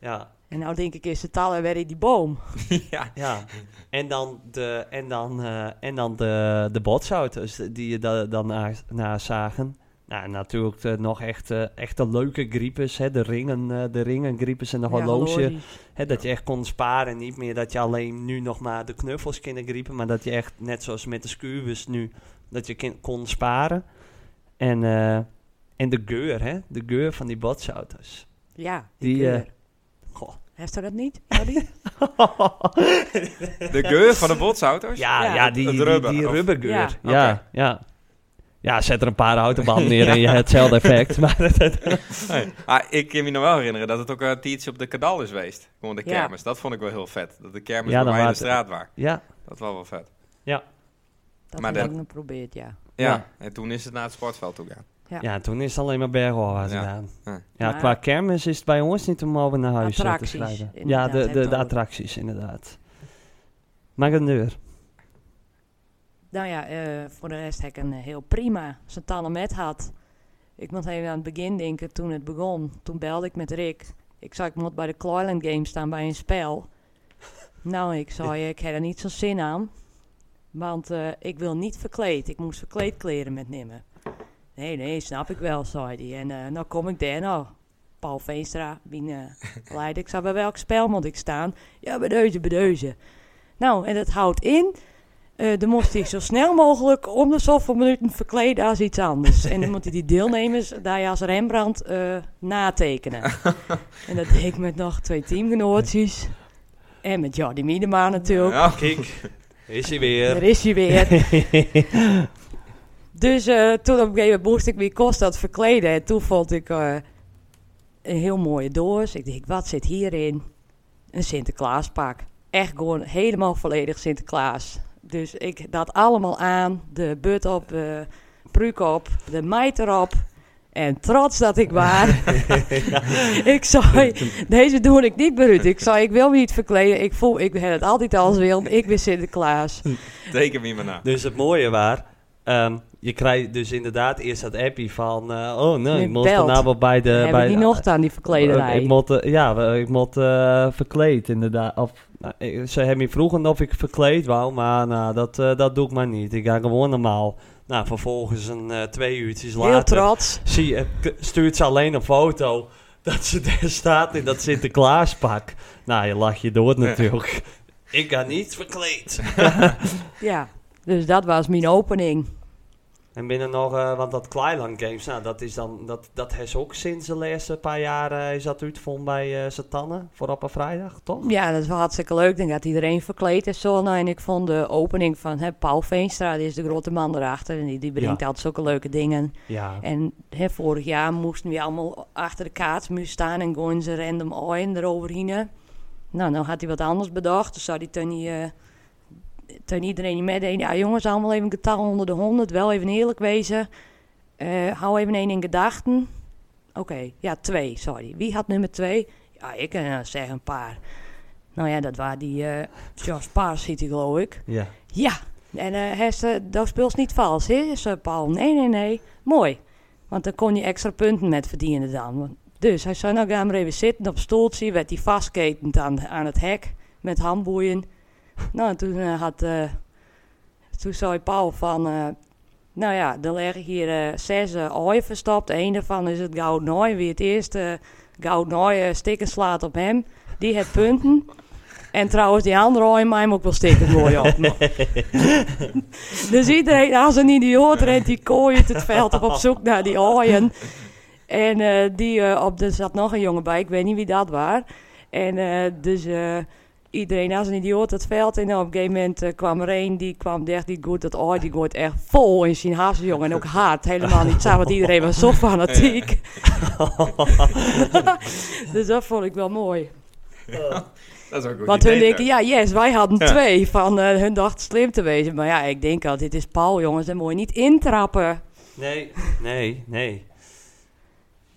ja,
En nou denk ik, is de taal weer in die boom.
ja.
ja. En dan de, en dan, eh, en dan de, de botsauto's die je da- dan na, na zagen. Nou, en natuurlijk eh, nog echt, eh, echt de leuke griepes, hè, de ringen, eh de ringen griepes en de
Ja,
horloge.
horloges.
Hè, dat je echt kon sparen. Niet meer dat je alleen nu nog maar de knuffels kon griepen. Maar dat je echt, net zoals met de scuwers nu, dat je kin- kon sparen. En, eh, en de geur, hè? De geur van die botsauto's.
Ja,
Die,
die,
eh,
eh
Goh.
heeft ze dat niet? Jordi?
De geur van de botsauto's?
ja, ja,
Ja,
die,
het
die,
rubber,
die
of-
rubbergeur. Ja,
Ja.
ja,
Oké.
Ja, zet er een paar houten banden neer en je hebt hetzelfde effect. Maar dat- dat-
Nee. Ah, ik kan me nog wel herinneren dat het ook een tijdje op de kadal is geweest. Gewoon de
Ja.
kermis. Dat vond ik wel heel vet. Dat de kermis
Ja,
bij
dan
mij in de
waren het-
straat was.
ja,
Dat was wel vet.
Dat
Maar
heb
dat-
ik nog geprobeerd, ja.
Ja.
Ja.
En toen is het naar het sportveld toe gaan.
Ja.
ja, toen is het alleen maar berghoorwaarts
Ja.
gedaan.
Ja.
Ja,
Maar-
qua kermis is het bij ons niet om over naar huis eh,
Attracties,
te schrijven. Ja,
inderdaad,
de, de,
hè,
de
Tom?
attracties, inderdaad. Maak een deur.
Nou ja, eh, voor de rest heb ik een eh, heel prima Santana met had. Ik moet even aan het begin denken, toen het begon. Toen belde ik met Rick. Ik zei, ik moet bij de Cloyland Games staan bij een spel. nou, ik zei, eh, ik heb er niet zo'n zin aan. Want eh, ik wil niet verkleed. Ik moest verkleedkleren metnemen. Nee, nee, snap ik wel, zei hij. En eh, nou kom ik daar, nou. Paul Veenstra, wie eh leidt. Ik zei, bij welk spel moet ik staan? Ja, bij deze, bij deze. Nou, en dat houdt in eh dan moest hij zo snel mogelijk om de zoveel minuten verkleden als iets anders. En dan moet hij die deelnemers daar als Rembrandt eh, natekenen. en dat deed ik met nog twee teamgenootjes. En met Jordi Miedema natuurlijk.
Ja.
Kijk. Is hij
Daar
weer.
is hij weer. dus eh, toen op een gegeven moment moest ik mijn kost dat verkleden. En toen vond ik eh, een heel mooie doos. Ik dacht, wat zit hierin? Een Sinterklaaspak. Echt gewoon helemaal volledig Sinterklaas. Dus ik dat allemaal aan. De but op, de pruik op, de meid erop. En trots dat ik waar. ik zei, deze doe ik niet, Brut. Ik zei, ik wil me niet verkleden. Ik voel, ik heb het altijd als wil. Ik ben Sinterklaas.
Teken me maar na.
Dus het mooie waar, ehm, je krijgt dus inderdaad eerst dat appje van, eh, oh nee,
Nu
ik moet
belt.
vanavond bij de...
Hebben
bij
die nog aan die verklederij?
Ik moet, eh, ja, we- ik moet eh, verkleed inderdaad. Of, nou, ik- ze hebben me vroegen of ik verkleed wou, maar nou, dat, eh, dat doe ik maar niet. Ik ga gewoon normaal. Nou, vervolgens een eh, twee uurtjes
Heel
later
trots.
zie je, k- stuurt ze alleen een foto dat ze daar staat in dat Sinterklaaspak. Nou, je lacht je dood natuurlijk. Ik ga niet verkleed.
Ja, dus dat was mijn opening.
En binnen nog, eh, want dat Kleiland Games, nou, dat is dan, dat, dat is ook sinds de laatste paar jaar eh, is dat uitgevonden bij eh Satanne voor op een vrijdag, toch?
Ja, dat is wel hartstikke leuk. Ik denk dat iedereen verkleed is. Zo. Nou, en ik vond de opening van hè, Paul Veenstra, die is de grote man erachter. En die, die brengt
Ja.
altijd zulke leuke dingen.
Ja.
En hè, vorig jaar moesten we allemaal achter de kaartsmuur staan en gooien ze random ooien eroverheen. Nou, nou had hij wat anders bedacht. Dus zou hij toen, eh, toen iedereen die meedeed, ja jongens, allemaal even een getal onder de 100, wel even eerlijk wezen. Eh, hou even één in gedachten. Oké, ja, twee, sorry. Wie had nummer twee? Ja, ik eh, zeg een paar. Nou ja, dat waren die eh Josh Paars, ziet hij geloof ik.
Ja.
Ja, en eh Hester, dat speelt niet vals, hè, zei Paul. Nee, nee, nee. Mooi. Want dan kon je extra punten met verdienen dan. Want- Dus hij zei, nou ga maar even zitten op een stoeltje. Werd hij vastketend aan, aan het hek met handboeien. Nou, en toen eh, had... eh, toen zei Paul van... eh, nou ja, er liggen hier eh, zes eh, ooien verstopt. Eén daarvan is het gouden ooi. Wie het eerste gouden ooi eh, stikken slaat op hem, die heeft punten. En trouwens, die andere ooi mij ook wel stikken mooi op. dus iedereen, als een idioot, rent die kooiend het veld op op zoek naar die ooien. En eh, die, eh, op, er zat nog een jongen bij, ik weet niet wie dat was. En eh, dus... eh, iedereen als een idioot het veld in. En op een gegeven moment eh, kwam er een, die kwam echt niet goed. Dat oor, die gooit echt vol in zijn hazen, jongen. En ook hard, helemaal niet samen, want iedereen was zo fanatiek. dus dat vond ik wel mooi.
Dat is ook goed.
Want hun denken, ja, yes, wij hadden twee. Van eh, hun dacht slim te wezen. Maar ja, ik denk al, dit is Paul, jongens. Dan moet je niet intrappen.
Nee, nee, nee.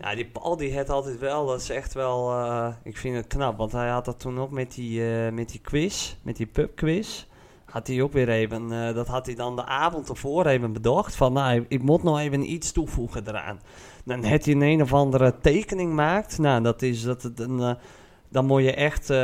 Ja, die Paul die had altijd wel, dat is echt wel, eh, ik vind het knap. Want hij had dat toen ook met die, eh, met die quiz, met die pubquiz. Had hij ook weer even, eh, dat had hij dan de avond ervoor even bedacht. Van nou, ik- ik moet nog even iets toevoegen eraan. Dan had hij een een of andere tekening maakt. Nou, dat is, dat, het een, eh, dan moet je echt eh,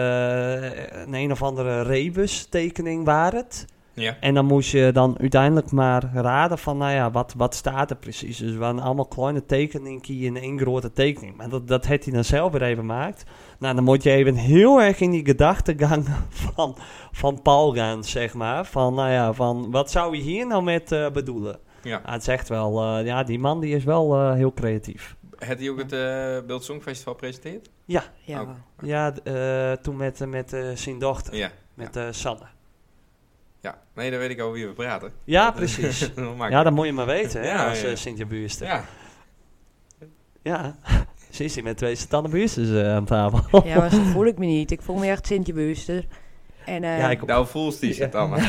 een een of andere rebus tekening waar het.
Ja.
En dan moest je dan uiteindelijk maar raden van, nou ja, wat, wat staat er precies? Dus we hadden allemaal kleine tekeningen in één grote tekening. Maar dat, dat heeft hij dan zelf weer even gemaakt. Nou, dan moet je even heel erg in die gedachtegang van, van Paul gaan, zeg maar. Van, nou ja, van, wat zou je hier nou met eh, bedoelen?
ja.
Ah, het is echt wel, eh, ja, die man die is wel eh, heel creatief.
Had hij ook het eh Beeld Songfestival presenteerd?
Ja,
Ook.
Ja, d- eh, toen met, eh, met eh, zijn dochter,
Ja.
met eh, Sanne.
Ja. Nee, dan weet ik over wie we praten.
Ja,
Dat, eh,
precies.
dat maakt-
Ja, dat moet je maar weten, hè,
Ja,
als
ja,
eh,
ja.
Sint-Jan Buurster.
ja.
Ja, ze is hier met twee satanenbuursters eh, aan tafel.
ja maar zo voel ik me niet. Ik voel me echt Sintje Buuster. En, eh,
Ja, ik-
Nou, Fools die zit allemaal.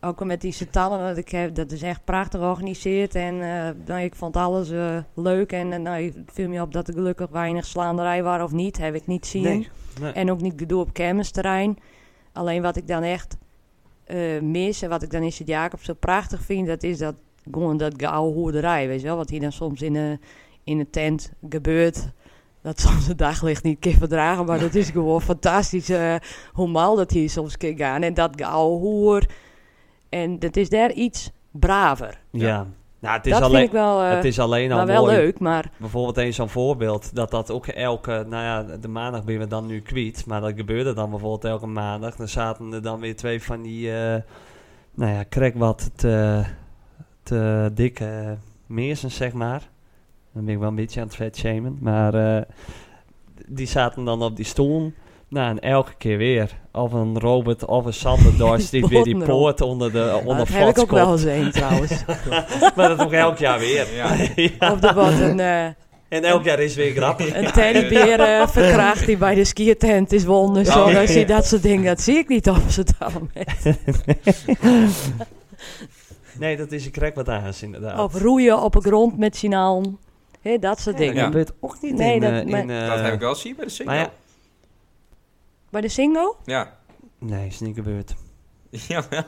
Ook al met die satannen, want ik heb, dat is echt prachtig georganiseerd. En eh, nou, ik vond alles eh, leuk. En eh, nou, ik viel me op dat er gelukkig weinig slaanderij waren of niet. Heb ik niet zien.
nee.
En ook niet gedoe op kermisterrein. Alleen wat ik dan echt eh, mis en wat ik dan in Sint-Jacob zo prachtig vind... dat is dat gewoon dat gouden hoerderij, weet je wel. Wat hier dan soms in een in een tent gebeurt... Dat soms het daglicht niet kan verdragen, maar dat is gewoon fantastisch eh, hoe mal dat hier soms kan gaan. En dat gouden hoer, en dat is daar iets braver.
Ja. Nou, het is
Dat
alleen,
vind ik wel, eh,
het is alleen al
maar wel
mooi.
leuk. Maar
Bijvoorbeeld eens zo'n voorbeeld dat dat ook elke, nou ja, de maandag ben we dan nu kwiet, maar dat gebeurde dan bijvoorbeeld elke maandag. Dan zaten er dan weer twee van die, eh, nou ja, krek wat te, te dikke meersen, zeg maar. Dan ben ik wel een beetje aan het vet shamen, maar eh, die zaten dan op die stoel. Nou, en elke keer weer. Of een Robert of een Sander Dorst die weer die
botten erop.
poort onder de onder
Ah, dat heb ik ook
vatskop.
wel eens een trouwens.
Maar dat ook elk jaar weer.
Ja.
Ja.
of er wordt een, eh,
En elk jaar is weer grappig.
een teddybeer eh, verkracht die bij de skiertent is wonnen.
Ja.
Zo, dan zie je dat soort dingen. Dat zie ik niet op Amsterdam.
Nee, dat is een krek wat aans inderdaad.
Of roeien op de grond met signalen. Hè, dat soort dingen.
Ja.
Dat gebeurt ook niet
Nee,
in,
dat-
eh, in, eh,
Dat heb ik wel zien bij de single.
maar ja.
Bij de single?
ja.
Nee, is niet gebeurd.
Jawel.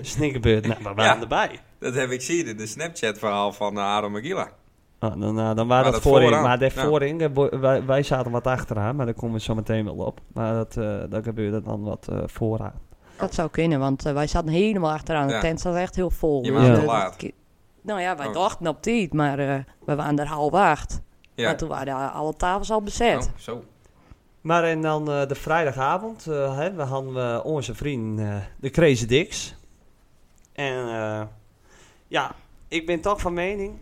Is niet gebeurd. Nou, maar we waren erbij.
Dat heb ik zien in de Snapchat-verhaal van eh, Aaron Magilla.
Ah, dan, eh, dan waren dat,
Nou, dat
voorin.
vooraan,
Maar daar
ja.
voorin, eh, bo- wij, wij zaten wat achteraan, maar daar komen we zo meteen wel op. Maar dat, eh, dat gebeurde dan wat eh, vooraan.
Dat zou kunnen, want eh, wij zaten helemaal achteraan. De
Ja.
tent zat echt heel vol.
Je
Dus,
waren
eh,
te laat.
ki- Nou ja, wij
Oh.
dachten op tijd, maar eh, we waren er half acht.
Ja.
Ah,
Maar toen waren daar alle tafels al bezet.
Oh, zo.
Maar en dan eh, de vrijdagavond, eh, hè, we hadden we onze vriend eh, de Crazy Dix. En eh, ja, ik ben toch van mening,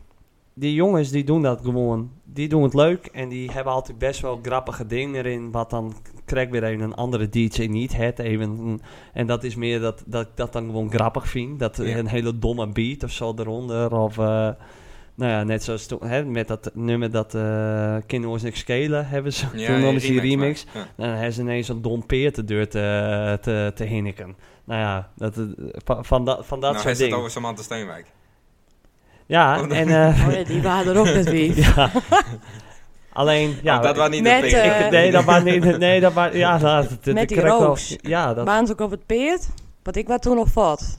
die jongens die doen dat gewoon. Die doen het leuk en die hebben altijd best wel grappige dingen erin. Wat dan krijg weer even een andere DJ niet het even. En dat is meer dat dat, ik dat dan gewoon grappig vind. Dat eh,
Ja.
een hele domme beat of zo eronder. Of eh, nou ja, net zoals toen, hè, met dat nummer dat eh Kinderen ons niks schelen hebben ze.
Ja,
toen
die
noemen ze die remix.
remix, maar- ja.
Dan hebben ze ineens een dompeer te deur te, te, te hinniken. Nou ja, dat, eh, van, van dat, van dat
nou, hij
soort
is het
dingen.
over Samantha Steenwijk.
Ja,
Oh,
en... eh,
Oh ja, die waren er ook net weer.
ja. Alleen, ja...
Oh, dat was niet
Met,
de plicht.
eh,
ik, nee, dat was niet... Nee, dat was... Ja, dat, dat-
Met
dat
die
kan ik wel-
roos.
Ja, dat,
Waren ze ook op het peert? Want ik was toen nog vat.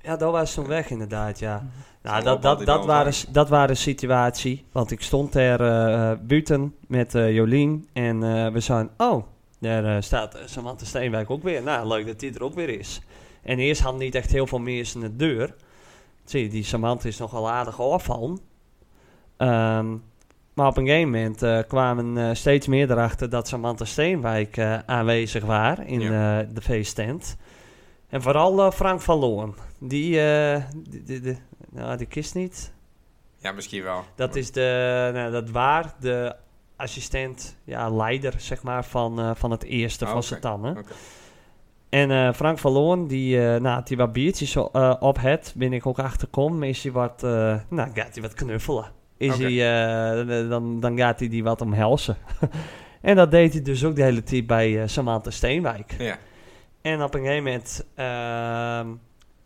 ja, dat was toen weg inderdaad, ja. Nou,
Zo'n
dat,
opbouw
dat,
die
dat,
dan
waren,
was.
dat waren situatie. Want ik stond daar eh eh, buiten met eh, Jolien. En eh, we zeiden, oh, daar eh, staat eh, Samantha Steenwijk ook weer. Nou, leuk dat die er ook weer is. En eerst hadden niet echt heel veel mensen de deur. Zie je, die Samantha is nogal aardig afvallen. Ehm, maar op een gegeven moment eh, kwamen eh, steeds meer erachter dat Samantha Steenwijk eh, aanwezig was in
Ja.
eh, de feesttent. En vooral eh, Frank van Loon. Die, eh, die, die, die- nou, die kist niet.
Ja, misschien wel.
Dat is de, nou, dat waar, de assistent, ja, leider, zeg maar, van, eh, van het eerste
Ah,
van
oké.
z'n tannen.
Oké.
En eh, Frank van Loon, die, eh nou, die wat biertjes zo, eh, op het, ben ik ook achterkom, is hij wat, eh, nou, gaat hij wat knuffelen. Is
Oké.
hij, eh, dan, dan gaat hij die wat omhelzen. en dat deed hij dus ook de hele tijd bij eh, Samantha Steenwijk.
Ja.
En op een gegeven moment, ehm,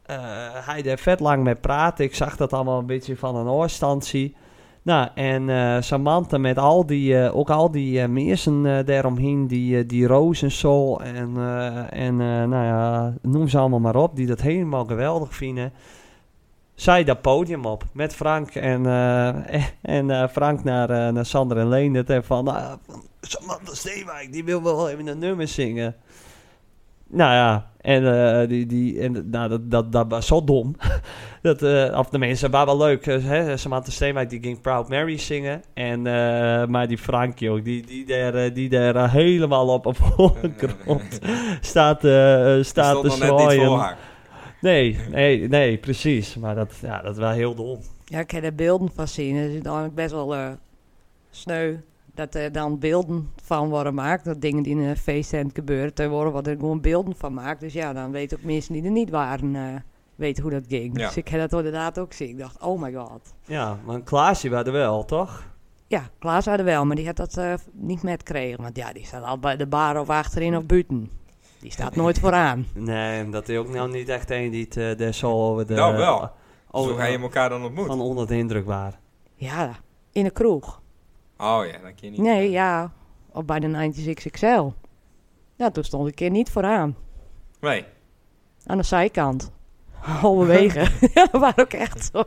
eh, hij deed vet lang mee praten. Ik zag dat allemaal een beetje van een oorstantie. Nou, en eh, Samantha met al die, eh, ook al die eh meersen eh, daaromheen, die, eh, die Roos en Sol en, eh, en eh, nou ja, noem ze allemaal maar op, die dat helemaal geweldig vinden. Zij dat podium op met Frank en, eh, en eh, Frank naar, eh, naar Sander en Leendert en van, ah, van Samantha Steenwijk, die wil wel even een nummer zingen. Nou ja, en, eh, die, die, en nou, dat, dat, dat was zo dom. dat, eh of de mensen waren wel leuk. eh, hè, Samantha Steenwijk die ging Proud Mary zingen. En, eh, maar die Frank, joh, die, die daar, eh, die daar eh, helemaal op op voorgrond staat, eh eh,
Die
Oh, staat
stond
te
nog net niet voor
zwaaien.
haar.
Nee, nee, nee, precies. Maar dat, ja, dat was heel dom.
Ja, ik heb er beelden van zien. Dat is eigenlijk best wel eh, sneu. Dat er dan beelden van worden gemaakt. Dat dingen die in een feesttent gebeuren, te worden wat er gewoon beelden van maakt. Dus ja, dan weten ook mensen die er niet waren, eh, weten hoe dat ging.
Ja.
Dus ik heb dat inderdaad ook zien. Ik dacht, oh my god.
Ja, maar Klaasje was er wel, toch?
Ja, Klaas had er wel, maar die had dat eh, niet met gekregen. Want ja, die staat al bij de bar of achterin of buiten. Die staat nooit vooraan.
Nee, dat is ook nou niet echt een die het eh, daar zo over de...
Nou, wel.
over-
Zo ga je elkaar dan ontmoeten.
van onder de indruk waren.
Ja, in de kroeg.
Oh ja, dat kun je niet.
Nee, ja, of bij de 90 XXL. Ja, toen stond ik een keer niet vooraan.
Nee.
Aan de zijkant. Halverwege. ja, dat waren ook echt zo.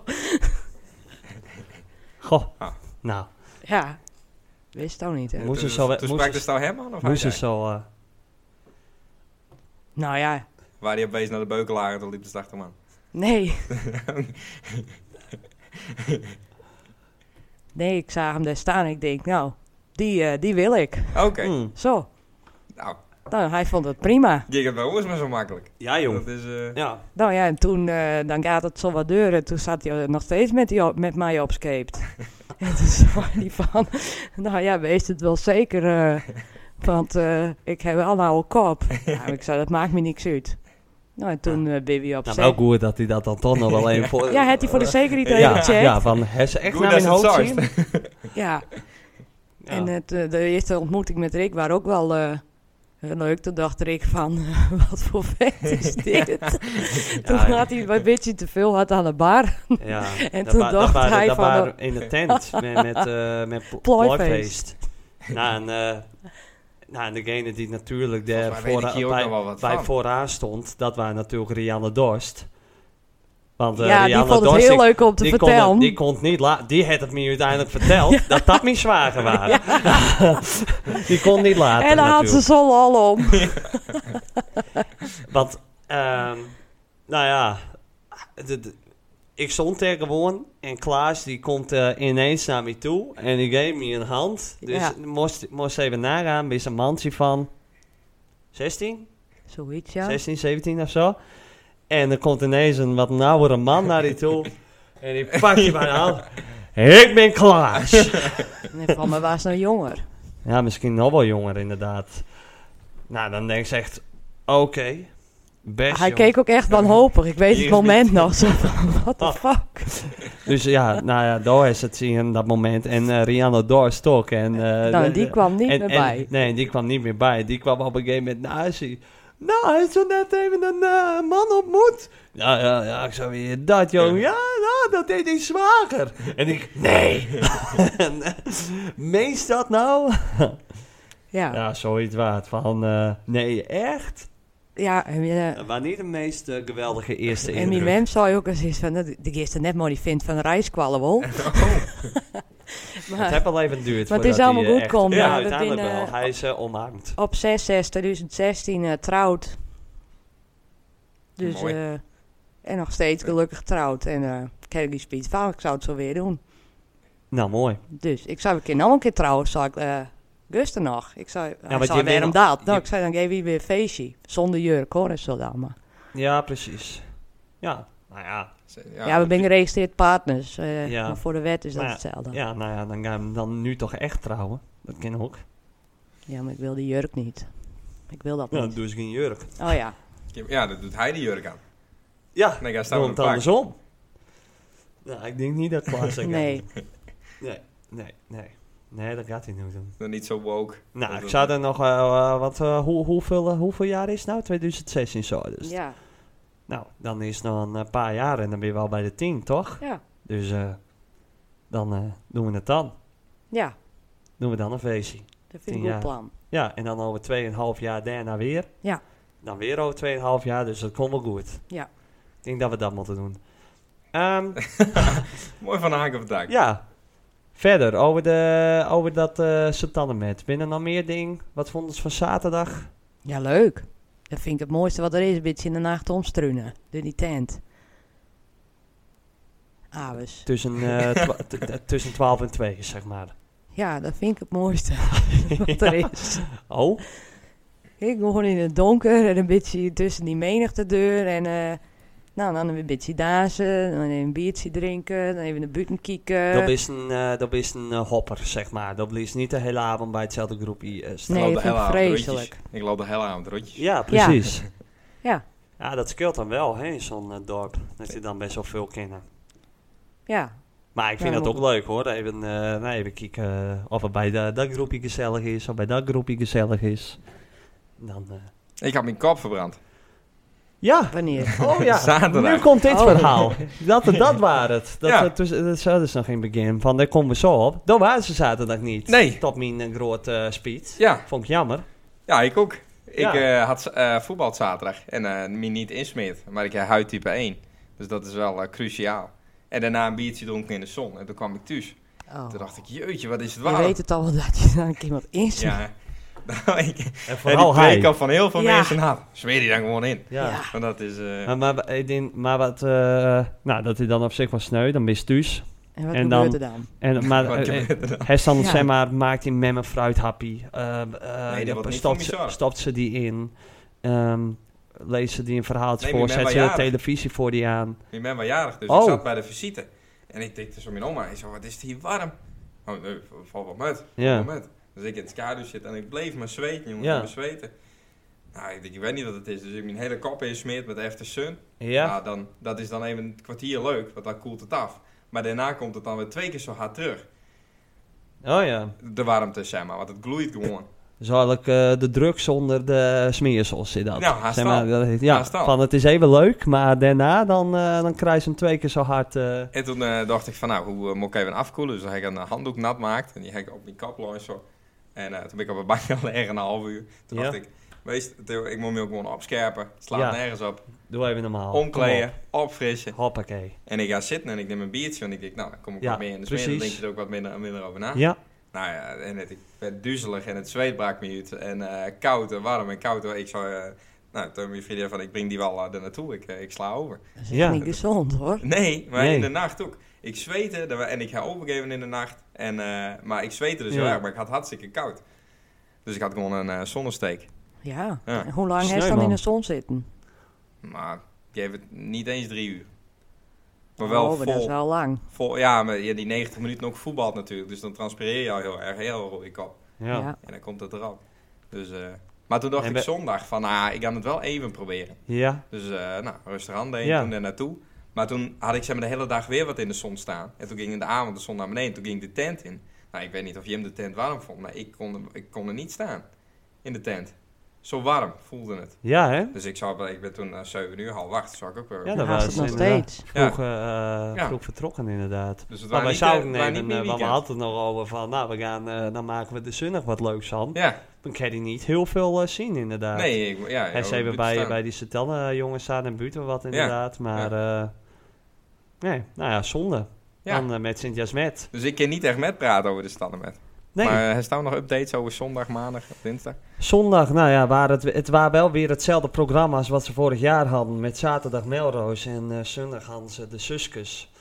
Goh,
Ah.
nou,
Ja, wist het ook niet. Hè?
Moest
Toen-
het zo-
Toen
moest
sprak
het-
de staan hem aan? Of hij
moest het
zei?
zo... eh,
Nou ja,
Waar hij opeens naar de beukelaar en toen liep de achterman.
nee. nee, ik zag hem daar staan en ik denk, nou, die, eh, die wil ik.
Oké,
hmm.
Zo.
nou,
Nou, hij vond het prima.
ging het bij ons maar zo makkelijk.
Ja,
Dat
jong.
is, eh,
Ja.
Nou ja, en toen eh, dan gaat het zo wat deuren. Toen zat hij eh, nog steeds met, die op- met mij opscaped. en toen zei hij van, nou ja, wees het wel zeker eh, Want eh, ik heb wel een oude kop. Nou, ik zei, dat maakt me niks uit. Nou, en toen eh ben we op
Nou,
zee.
wel goed dat hij dat dan toch nog alleen voor...
Ja, had hij voor de zekerheid even
ja,
gecheckt.
ja, van, heb ze echt
Goed
naar
dat
mijn
ze het
hoofd
zaust.
zien?
Ja,
Ja.
en het, eh, de eerste ontmoeting met Rick was ook wel eh, leuk. Toen dacht Rick van, wat voor vet is dit? Toen
Ja,
had hij een beetje te veel had aan de bar.
Ja,
En
dat
toen
wa-
dacht
dat waren-
hij
dat
van, oh,
waren in de tent met, met, eh met pl-
Plooifeest.
plooifeest. Nou, en, eh, nou, en degene die natuurlijk daar
Volgens mij weet ik hier ook nog wel wat
bij
van.
vooraan stond, dat waren natuurlijk Rianne Dorst. Want eh,
ja, die
Rianne
vond het
Dorst,
heel
ik-
leuk om te
die
vertellen.
Kon het, die kon het niet la- die had het me uiteindelijk verteld dat dat mijn zwager waren. die kon het niet laten.
en dan had ze
natuurlijk.
zon al om.
Want, ehm, nou ja, de- de- ik stond daar gewoon en Klaas die komt eh, ineens naar me toe en die geeft me een hand. Dus
Ja.
ik moest, moest even nagaan, is een mandje van 16,
Zoiets, ja.
16, 17 of zo. En er komt ineens een wat nauwere man naar die toe en die pakt je bij de hand. Ik ben Klaas.
En van me was nog jonger.
ja, misschien nog wel jonger inderdaad. Nou, dan denk ik echt, oké, best
Hij
jong.
keek ook echt wanhopig. Ik weet
Hier
het
is
moment nog. Zo van, what the fuck?
Dus ja, nou ja, daar is het in dat moment. En eh, Rihanna Doors ook. En, eh,
Nou,
de-
die
de-
kwam niet
en-
meer
en-
bij.
Nee, die kwam niet meer bij. Die kwam op een gegeven moment naar ze. Nou, hij is zo net even een eh, man ontmoet. Ja, ja, ja, ik zou weer dat, jong. Ja, ja, dat deed die zwager. En ik, nee. En, eh, Meest dat nou?
Ja, ja.
Ja, zoiets waard. Van, eh, nee, echt?
en, eh,
Maar niet de meest eh, geweldige eerste
en mijn mem zei ook eens iets van... dat- Die gisteren net mooi die vindt van rijskwallen, wel.
Het
Oh.
maar
heeft al even duurd.
Maar het is
voordat
allemaal
hij, eh,
goed
echt-
komt,
Ja,
maar we
uiteindelijk
binnen-
wel. Hij is eh, omarmd.
op 6-6-2016 eh, trouwd. Dus,
Mooi.
eh, en nog steeds gelukkig getrouwd. En eh ken die speed van, ik zou het zo weer doen.
Nou, mooi.
Dus ik zou een keer nog een keer trouwen, zou ik... eh Guster nog. Ik zei, hij
want
zei,
je
waarom
wil-
dat? Nou,
je-
ik zei, dan geef je weer een feestje. Zonder jurk hoor, en zo dan maar.
Ja, precies. Ja, nou ja.
Ja, we zijn geregistreerd partners. eh,
Ja.
Maar voor de wet is dat
Maar
hetzelfde. Ja.
Ja, nou ja, dan gaan we dan nu toch echt trouwen. Dat kan ook.
maar ik wil die jurk niet. Ik wil dat
Ja, dan
niet.
doe eens geen jurk.
Oh ja.
Ja, dat doet hij de jurk aan.
Ja,
Nee, ga staan
dan
met
het
een pak.
andersom. Nou, ik denk niet dat Klaas dat
Nee.
gaat doen. Nee, nee, nee. Nee, dat gaat hij niet doen.
Dan niet zo woke.
Nou,
Dat
ik
is
zou
wel-
er nog... eh, eh, wat, eh, hoe, hoeveel, eh, hoeveel jaar is het nou? 2016 zo. Dus.
Ja.
Nou, dan is het nog een eh, paar jaar en dan ben je wel bij de tien, toch?
Ja.
Dus eh, dan eh, doen we het dan.
Ja.
Doen we dan een feestje.
Dat vind ik
Tien
een
jaar.
goed plan.
Ja, en dan over 2,5 jaar daarna weer.
Ja.
Dan weer over 2,5 jaar, dus dat komt wel goed.
Ja.
Ik denk dat we dat moeten doen. Ehm,
Mooi van de haak op het dak.
ja. Verder, over, de, over dat eh Septannement. Binnen nog meer ding? Wat vonden ze van zaterdag?
Ja, leuk. Dat vind ik het mooiste wat er is. Een beetje in de nacht omstruinen. Door die tent. Awes.
Tussen, eh, twa- t- t- tussen 12 en 2, zeg maar.
Ja, dat vind ik het mooiste wat er is.
Oh,
Ik gewoon in het donker en een beetje tussen die menigte deur. En eh, nou, dan een beetje dansen. Dan een biertje drinken. Dan even naar buiten kijken.
dat is een, eh, dat is een eh, hopper, zeg maar. Dat is niet de hele avond bij hetzelfde groepje eh, staan.
Ik
Nee,
loop
dat
de hele
vind
avond
ik
rondjes.
vreselijk.
Ik loop de hele avond rondjes.
Ja, precies. Ja.
Ja.
dat scheelt dan wel, hè, in zo'n eh, dorp. Dat je dan best wel veel kennen.
Ja,
Maar ik vind
Nou,
dat
dan
ook leuk hoor. Even, eh, nou, even kijken eh, of het bij dat, dat groepje gezellig is, of bij dat groepje gezellig is. Dan, eh,
Ik had mijn kop verbrand.
ja!
wanneer?
Oh ja,
Zaterdag.
nu komt dit
Oh.
verhaal. Dat, dat waren het. Dat,
Ja.
dat, was- dat zou dus nog in het begin. Van daar komen we zo op. Dat waren ze zaterdag niet.
Nee.
Tot mijn eh, groot eh, speed.
Ja,
Vond ik jammer.
ja ik ook. Ik
Ja.
eh, had eh voetbal zaterdag en eh me niet insmeerd. Maar ik eh, heb huidtype 1. Dus dat is wel eh, cruciaal. En daarna een biertje dronken in de zon. En toen kwam ik thuis.
Oh.
Toen dacht ik, jeetje, wat is het
Je
warm.
weet het al wel dat je dan een keer wat inzet.
Ja. Nou, ik,
En
en
vooral
die
hij.
preek al van heel veel
Ja.
mensen had. Zweer die dan gewoon in.
Ja.
Ja.
Want dat is... eh,
Maar, Nou, maar, ik denk- maar wat, eh, nou, dat hij dan op zich was sneu, dan mist thuis.
En wat
En
gebeurt
dan-
er dan?
En, maar,
wat
eh,
gebeurt er dan?
Hij dan
Ja.
zeg maar, maakt die memmen fruithappy. eh, eh,
dat
dan
wordt niet
stopt,
van
ze,
bizar.
stopt ze die in. ehm, leest ze die een verhaaltje
Nee,
voor.
maar
Zet
bij
ze de
jaren.
televisie voor die aan.
Ik ben wel jarig, dus
Oh.
ik zat bij de visite. En ik tikte zo mijn oma. Ik zei, wat is het hier warm? Oh, nee, v- valt wel met.
Ja.
Valt wel met. Als ik in het schaduw zit en ik bleef maar zweten, jongen,
Ja.
maar zweten. Nou, ik, denk, ik weet niet wat het is. Dus ik mijn hele kop insmeert met After Sun.
Ja,
Nou, dan, dat is dan even een kwartier leuk, want dan koelt het af. Maar daarna komt het dan weer twee keer zo hard terug.
oh ja.
De warmte, zeg maar, want het gloeit gewoon.
Dus eigenlijk eh, de druk zonder de smeersels zit dat.
Nou, haast
Zeg maar,
al.
dat heet- ja,
Haast al.
van het is even leuk, maar daarna dan, eh dan krijg je hem twee keer zo hard. eh,
En toen eh, dacht ik van, nou, hoe eh, moet ik even afkoelen? Dus dan heb ik een handdoek nat gemaakt en die heb ik op mijn kap lopen zo. En eh, toen ben ik op een bank gaan liggen een half uur. Toen
Ja.
dacht ik, wees, Theo, ik moet me ook gewoon opscherpen. Het slaat
Ja.
nergens op.
doe even normaal.
Omkleden, opfrissen.
Kom op. Hoppakee.
En ik ga zitten en ik neem een biertje, want ik denk, nou, dan kom ik
Ja,
wat meer in de sfeer. Dan
precies.
denk je er ook wat minder, minder over na.
Ja,
Nou ja, en het, ik werd duizelig en het zweet brak me uit. En eh, koud en warm en koud. Ik zou, eh, nou, toen mijn vriendin van, ik breng die wel eh, er naartoe. Ik, eh, ik sla over.
Dat is
Ja.
echt niet gezond hoor.
Nee, maar
Nee.
in de nacht ook. Ik zweette er wa- en ik ga overgeven in de nacht. En, eh, maar ik zweette dus
Ja.
heel erg, maar ik had hartstikke koud. Dus ik had gewoon een eh, zonnesteek.
Ja.
Ja.
En Hoe lang heeft dan
Sneuman.
in de zon zitten?
Maar ik geef het niet eens drie uur. Maar wel
oh, maar dat
vol,
is wel lang.
vol. Ja, maar ja, die 90 minuten ook voetbalt natuurlijk. Dus dan transpireer je al heel erg, heel rode kop.
ja.
Ja.
En dan komt het erop. Dus, eh, maar toen dacht
En
ik
we-
zondag van, ah, ik ga het wel even proberen.
Ja,
Dus eh, nou, rustig aan deed
Ja.
toen daar naartoe. Maar toen had ik zeg maar, de hele dag weer wat in de zon staan. En toen ging in de avond de zon naar beneden. Toen ging ik de tent in. Nou, ik weet niet of Jim de tent warm vond, maar ik kon, ik kon er niet staan. In de tent. Zo warm voelde het.
ja hè?
Dus ik, zou, ik ben toen na 7 uur half wacht. Zou ik ook weer.
Ja,
Dan
dat
haast
was
het nog
inderdaad.
steeds.
Ja.
Vroeg, eh,
Ja.
vroeg vertrokken inderdaad.
Dus het
Nou, Maar wij
niet,
zouden
eh, het waren
nemen,
niet
eh,
meer
want we
weekend.
hadden het nog over van, nou we gaan, eh, dan maken we de zonnig wat leuks van.
Ja,
Dan kan je niet heel veel eh, zien inderdaad.
nee. Ik, ja,
Hij zei we bij, bij die Satelle jongens staan en buiten wat inderdaad, maar eh, nee, nou ja, zonde.
Ja.
Dan eh, met Sint-Jasmet.
Dus ik kan niet echt met praten over de standen met.
Nee,
Maar er staan nog updates over zondag, maandag, dinsdag.
zondag, nou ja, waren het, het waren wel weer hetzelfde programma als wat ze vorig jaar hadden. Met zaterdag Melroos en eh, zondag hadden ze de Suskus.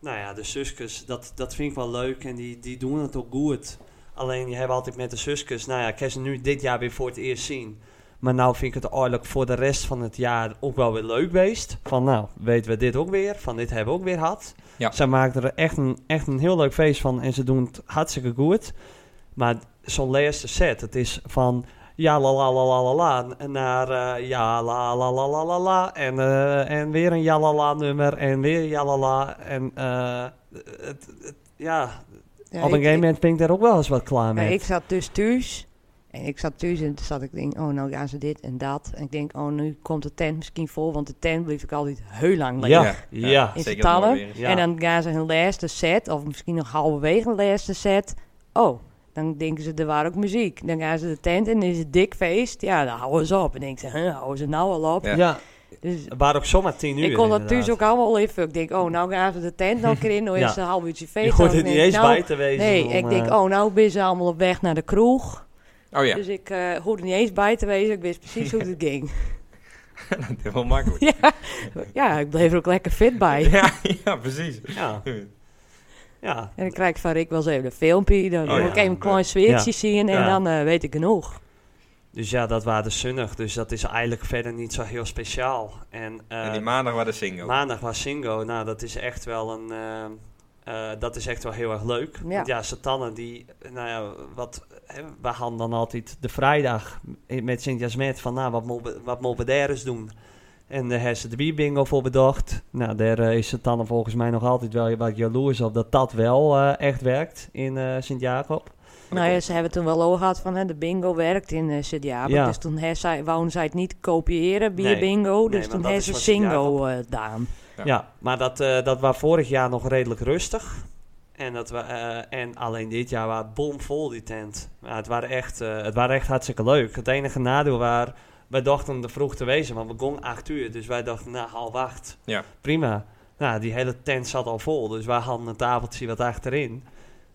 Nou ja, de Suskus, dat, dat vind ik wel leuk en die, die doen het ook goed. Alleen je hebt altijd met de Suskus, nou ja, ik heb ze nu dit jaar weer voor het eerst zien. Maar nou vind ik het eigenlijk voor de rest van het jaar ook wel weer leuk geweest. Van nou, weten we dit ook weer, van dit hebben we ook weer gehad.
Ja.
Ze maken er echt een, echt een heel leuk feest van en ze doen het hartstikke goed. Maar zo'n laatste set, het is van ja la la la la la la en naar eh, ja la la la la la la en, eh, en weer een ja la la nummer en weer ja la la en eh, het, het- ja,
Ja,
op een
ik-
gegeven moment ben ik daar ook wel eens wat klaar
Maar
mee.
ik zat dus thuis. En ik zat thuis en toen zat ik denk, oh nou gaan ze dit en dat. En ik denk, oh nu komt de tent misschien vol, want de tent bleef ik altijd heel lang leeg.
Ja, ja.
Is
zeker
het
dat
tallen?
mooi weer is.
Ja.
En dan gaan ze hun laatste set, of misschien nog halverwege een laatste set. Oh, dan denken ze, er waren ook muziek. Dan gaan ze de tent in, dan is het dik feest. Ja, dan houden ze op. En denken ze, huh, houden ze nou al op?
Ja.
ja.
Dus
het waren ook zomaar tien uur
ik kon dat
inderdaad.
thuis ook allemaal wel even. Ik denk, oh nou gaan ze de tent nog in, nou
Ja.
is het een half uurtje
Je
feest.
hoort
Dan
er niet
denk ik,
eens
nou,
bij te wezen.
Nee,
om,
ik denk,
eh,
oh nou ben ze allemaal op weg naar de kroeg.
Oh ja,
Dus ik eh hoorde niet eens bij te wezen. Ik wist precies hoe het ging.
dat is heel makkelijk.
ja. ja, ik bleef er ook lekker fit bij.
Ja, ja, precies.
Ja, ja.
En dan krijg ik van Rick wel eens even een filmpje. Dan
Oh
moet
ja.
ik even een klein zweertje zien en
Ja.
dan eh, weet ik genoeg.
Dus ja, dat waren de zonnig. Dus dat is eigenlijk verder niet zo heel speciaal. En, eh,
en die maandag waren de single.
Maandag was Singo. Nou, dat is echt wel een. eh, eh, dat is echt wel heel erg leuk.
Ja.
Want ja, Satannen die. Nou ja, wat. Hè, we gaan dan altijd de vrijdag i- met Sint-Jasmet van. Nou, wat mogen wat mogen we daar eens doen? En daar hebben ze de bierbingo voor bedacht. Nou, daar eh, is Satannen volgens mij nog altijd wel wat jaloers op dat dat wel eh, echt werkt in eh, Sint-Jacob.
Nou ja, ze hebben toen wel over gehad van hè, de bingo werkt in eh sint
Ja.
Dus toen hè, zij, wouden zij het niet kopiëren, bier bingo.
Nee,
Dus
want
toen
dat
hebben
is
ze
wat
singo eh gedaan.
Ja.
Ja, maar dat, eh dat was vorig jaar nog redelijk rustig. En, dat we, eh, en alleen dit jaar was het bomvol, die tent. Maar het waren echt, eh, het waren echt hartstikke leuk. Het enige nadeel waar, wij dachten er vroeg te wezen, want we gingen acht uur. Dus wij dachten, nou, half acht.
Ja.
Prima. Nou, die hele tent zat al vol, dus wij hadden een tafeltje wat achterin.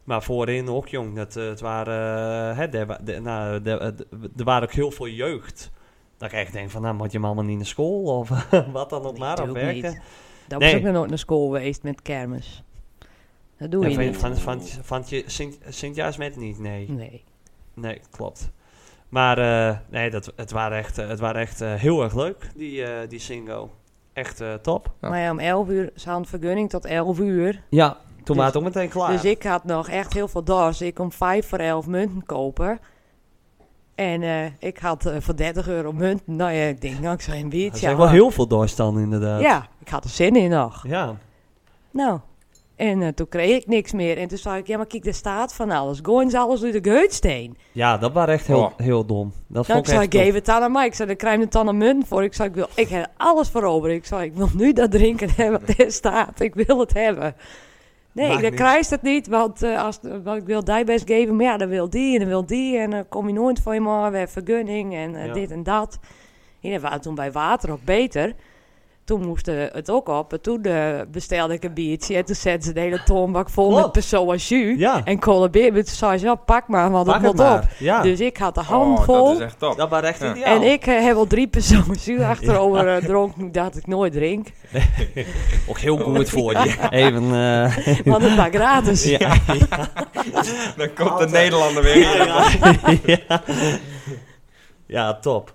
Maar voorin ook, jong, dat, eh, het waren, eh, hè, er wa- de- nou, de- eh, de- er waren ook heel veel jeugd. Dat ik echt denk van, nou, moet je hem allemaal niet naar school of wat dan ook
Nee,
maar op
natuurlijk
werken.
niet. Dat
Nee.
was ook nog nooit naar school geweest met kermis. Dat doe
Ja,
je
van,
niet.
van, van, van je Sint, Sint-Jaarsmet niet, nee.
Nee.
Nee, klopt. Maar eh, nee, dat, het waren echt, eh, het waren echt eh, heel erg leuk, die, eh, die single. Echt eh, top.
Ja.
Nou Maar ja, om 11 uur, ze hadden vergunning tot 11 uur.
Ja, Toen was het ook meteen klaar.
Dus ik had nog echt heel veel doors. Ik kon vijf voor elf munten kopen. En eh, ik had eh, voor 30 euro munten. Nou ja, ik denk, nou, ik zou een
er
biertje
zijn wel
halen.
heel veel doorstanden inderdaad.
Ja, ik had er zin in nog.
Ja.
Nou, en eh, toen kreeg ik niks meer. En toen zei ik, ja, maar kijk, er staat van alles. Gooi eens alles door de geutsteen.
Ja, dat was echt heel,
Oh.
heel dom. Dat
Nou, ik
vond ik
zei,
echt dom.
geef het aan aan mij. Ik zei, dan krijg je het dan een munt voor. Ik zei, ik, wil, ik heb alles voor over. Ik zei, ik wil nu dat drinken hebben wat er staat. Ik wil het hebben. Nee,
Maakt
dan
niet.
krijg je het niet, want, eh, als, want ik wil die best geven. Maar ja, dan wil die en dan wil die. En dan kom je nooit voor je maar weer vergunning en eh,
Ja.
dit en dat. En dat was toen bij water ook beter. Toen moest eh, het ook op. En toen eh, bestelde ik een biertje. En toen zetten ze de hele toonbak vol
Wat?
met persoa jus.
Ja,
En cola bier. Maar Toen zei ze, ja, pak maar, want
pak
het
het
moet op.
maar. Ah. Ja,
Dus ik had de hand
Oh,
vol.
dat is echt top.
dat was echt
Ja.
ideaal.
En ik eh, heb al drie personen zuur achterover eh, dronken dat ik nooit drink.
Ook heel goed voor je. Even, eh,
Want het was gratis.
ja.
Dan komt
Altijd.
de Nederlander weer in.
ja. ja, top.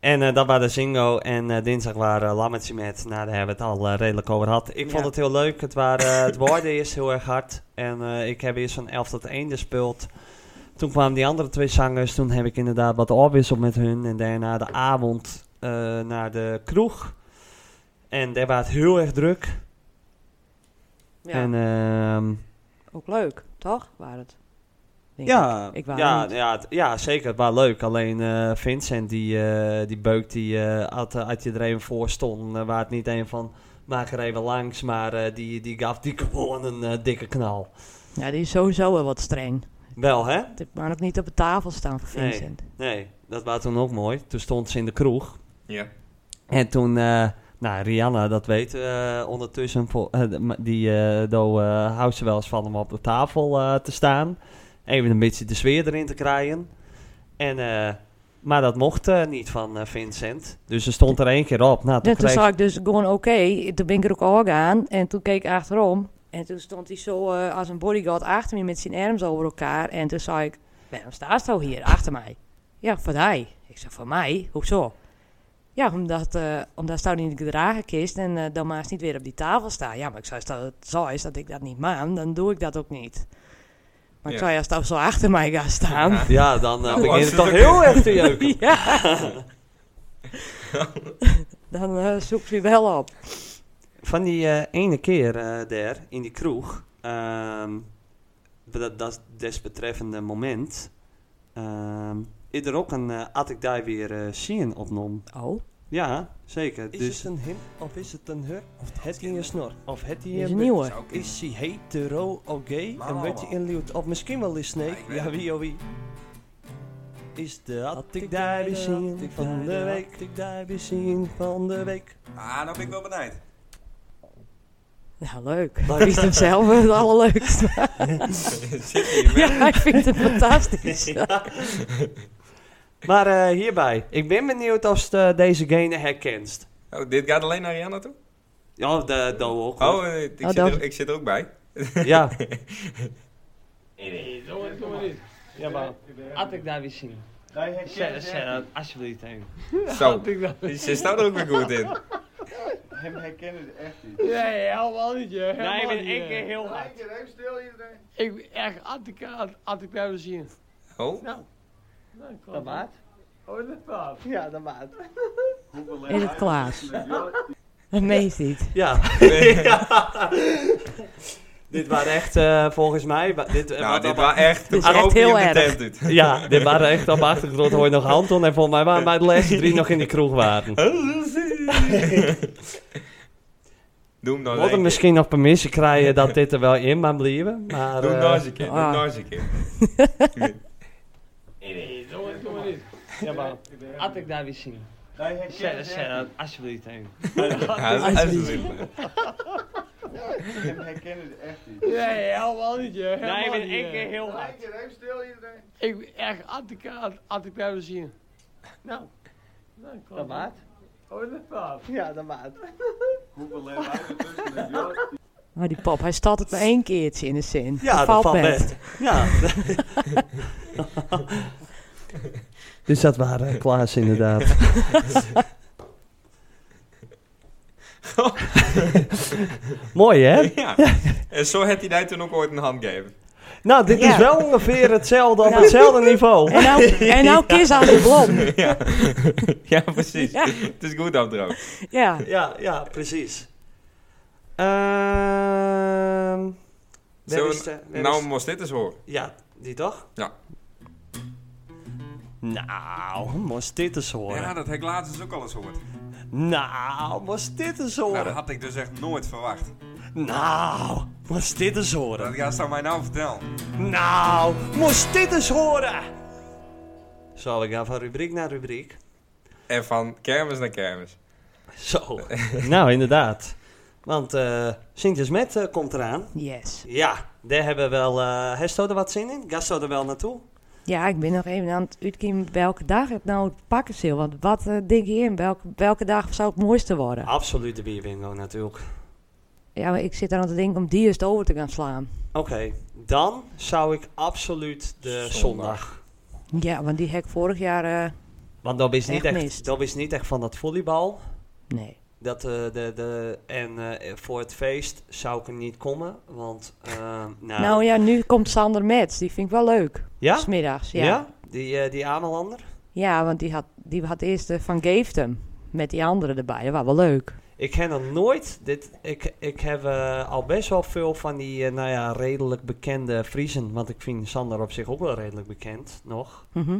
En eh, dat waren de Zingo en eh, dinsdag waren Lammetje met. Nou, daar hebben we het al eh, redelijk over gehad. Ik vond
Ja.
het heel leuk. Het, waren, eh, het worden is heel erg hard. En eh, ik heb eerst van 11 tot 1 gespeeld. Toen kwamen die andere twee zangers. Toen heb ik inderdaad wat afwisseld met hun. En daarna de avond eh, naar de kroeg. En daar was het heel erg druk.
Ja,
En ehm,
ook leuk, toch? Waar het? denk
Ja,
Ik, ik wou
ja,
niet.
ja, het- ja, zeker. Het was leuk. Alleen eh, Vincent, die, eh, die beuk, die eh, had, eh, had je er even voor stond. eh, waar het niet een van, maak er even langs. Maar eh, die, die gaf die gewoon een eh, dikke knal.
Ja, die is sowieso wel wat streng.
Wel, hè?
Dit mag ook niet op de tafel staan voor
Nee.
Vincent.
Nee, dat was toen ook mooi. Toen stond ze in de kroeg.
Ja.
En toen, eh, nou, Rihanna, dat weet eh, ondertussen. vol- eh, de- die eh do, eh, houdt ze wel eens van om op de tafel eh, te staan. Even een beetje de sfeer erin te krijgen. En, eh, maar dat mocht eh, niet van eh, Vincent. Dus ze stond er één keer op. Nou, toen
En toen
kreeg
zag ik dus gewoon oké. Toen ben ik er ook al gaan. En toen keek ik achterom. En toen stond hij zo eh, als een bodyguard achter me met zijn arms over elkaar. En toen zei ik, waarom staat zo hier achter mij? Ja, voor mij. Ik zei, voor mij? Hoezo? Ja, omdat, eh omdat staat in de gedragenkist en eh, dan maar eens niet weer op die tafel staan. Ja, maar ik zei, als het zo is dat ik dat niet maan, dan doe ik dat ook niet. Maar ik
Ja.
zei, als het zo achter mij gaat staan...
Ja.
Ja, dan eh,
Nou,
begint
als
het
het
toch
ook-
heel erg te jeuken.
Ja. Dan eh, zoekt hij wel op.
Van die eh, ene keer eh, daar in die kroeg, ehm, dat, dat desbetreffende moment, ehm, is er ook een eh had ik daar weer eh zien opnom.
Oh,
Ja, zeker.
Is
dus
het een hem of is het een her? Of het in je snor? Of het
dit is
in je
een
buik?
nieuwe.
Is hij hetero of gay?
Maar
en werd je
allemaal.
inluwd? Of misschien wel is snake?
Ja, ik weet
Ja,
het
wie oh wie? Is de had ik
ik
daar
daar
weer
de had
zien
ik
van
daar de
de week? Had ik daar weer zien van de week?
Ah, dan ben ik wel benijd.
Ja, leuk. Hij vindt hem zelf het allerleukste.
Zit hier met...
ja, hij vindt het fantastisch.
Maar eh, hierbij, ik ben benieuwd of ze eh, deze gene herkent.
Oh, dit gaat alleen naar Rihanna toe?
Ja, de, de ook. hoor.
Oh, eh, ik,
Oh,
zit
dan-
er, ik zit er ook bij.
Ja,
Ja, maar had ik daar weer zien? Zet dat alsjeblieft heen.
Zo, ze staat er ook weer goed in.
Hem herkennen ze echt niet.
Nee, helemaal niet, joh. Helemaal
Nee, ik ben
niet, eh.
één
joh.
keer heel
Kijk,
hard.
even stil iedereen.
Ik ben echt Attica, At- Attica hebben zien.
Oh,
Nou, ik
Dat
kan-
maat?
Oh, dat maat.
Ja, dat maat.
Is het Klaas? Dat meest niet.
ja. Ja. dit waren echt, eh, volgens mij... wa- Dit, eh,
nou,
wat
dit
allemaal-
was echt de
is echt
koop die
heel
op de
erg.
tent doet.
Ja, dit waren echt op de achtergrond hoor je nog Anton. En volgens mij waren mijn de laatste drie nog in die kroeg waren.
Doe hem nou
We
nog
hadden
eens een keer.
misschien nog permissie krijgen dat dit er wel in mag blijven. Maar,
Doe hem
eh,
nog eens een keer. Doe hem
Ah.
nog eens een keer.
Doe maar, doe maar niet.
Ja, maar had ik daar weer zien?
Wij herkennen ze
Zet
echt
dat
niet.
alsjeblieft heen.
Ja, dat is alsjeblieft.
Hem herkennen ze echt niet.
Nee, helemaal niet, joh. Helemaal
Nee, ik ben
niet, eh.
één
joh.
keer heel hard.
Kijk, even stil iedereen.
Ik ben echt Attica, At- Attica hebben zien. Nou. Nou, ik kan-
Dat maat?
Oh, dat maat.
Ja, dat maat.
Hoeveel hebben wij er tussen de joh?
Maar die pop, hij staat het maar één keertje in de zin.
Ja,
Dat
dat valt
met.
best. Ja. dus dat waren Klaas inderdaad. Mooi hè?
Ja, En zo had hij daar toen ook ooit een hand gegeven.
Nou, dit is
Ja.
wel ongeveer hetzelfde, op
Ja.
hetzelfde niveau.
En nou, en nou kist aan de blom.
ja. ja, precies.
Ja.
Het is goed afdroog.
Ja,
Ja, ja, precies. Ehm
Zullen
wer
we
is de- wer
Nou,
is-
moest dit eens horen.
ja, die toch?
Ja.
Nou, moest dit eens horen.
dat heb ik laatst dus ook al eens gehoord.
Nou, moest dit eens horen.
had ik dus echt nooit verwacht.
Nou, moest dit eens horen.
gaat ze mij nou vertellen.
Nou, moest dit eens horen. Zo, we gaan van rubriek naar rubriek.
En van kermis naar kermis.
Zo. nou, inderdaad. Want eh Sintjes Met eh, komt eraan.
yes.
Ja, daar hebben we wel. eh Hesto er wat zin in? Gasto er wel naartoe?
Ja, ik ben nog even aan het uitkiezen welke dag het nou het pakken zil. Want wat eh, denk je in? Welke, welke dag zou het mooiste worden?
Absoluut de bierbingo natuurlijk.
Ja, maar ik zit aan te denken om die eerst over te gaan slaan.
Oké, dan zou ik absoluut de zondag.
Zondag.
Ja, want die heb ik vorig jaar... eh,
Want dat is niet
Echt
echt,
mist.
dat is niet echt van dat volleybal.
nee.
Dat, eh, de, de, en eh, voor het feest zou ik er niet komen. Want, eh, nou,
Nou ja, nu komt Sander Metz. Die vind ik wel leuk.
ja?
Smiddags,
Ja?
ja. ja.
Die, eh, die Amelander?
want die had, die had eerst de Van Geeftem. Met die anderen erbij. Dat was wel leuk.
Ik ken er nooit. Dit, ik, ik heb eh, al best wel veel van die eh, nou ja, redelijk bekende Friesen. Want ik vind Sander op zich ook wel redelijk bekend nog.
Mhm.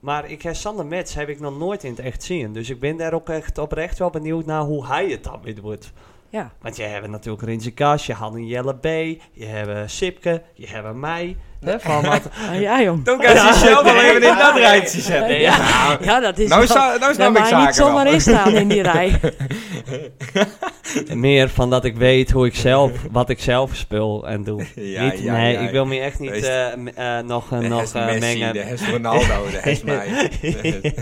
Maar ik heb Sander Metz heb ik nog nooit in het echt zien. Dus ik ben daar ook echt oprecht wel benieuwd naar hoe hij het dan weer doet.
Ja.
Want je hebt natuurlijk Rinse Kas, je had een Jelle B, je hebt eh, Sipke, je hebt mij. Hè, van wat...
Ah, ja, jong.
Dan kan hij zichzelf wel even in dat rijtje zetten.
Ja, ja, dat is
Nou,
wel-
sta- nou snap
Daar
ik
mag je niet
zaken wel.
zomaar in staan in die rij.
meer van dat ik weet hoe ik zelf, wat ik zelf speel en doe.
Ja,
niet,
ja,
nee,
ja,
ik wil me echt niet
Wees-
eh, m- eh, nog, eh,
De
nog
Hes
eh,
Messi,
mengen.
de Hes Ronaldo, de Hes mij.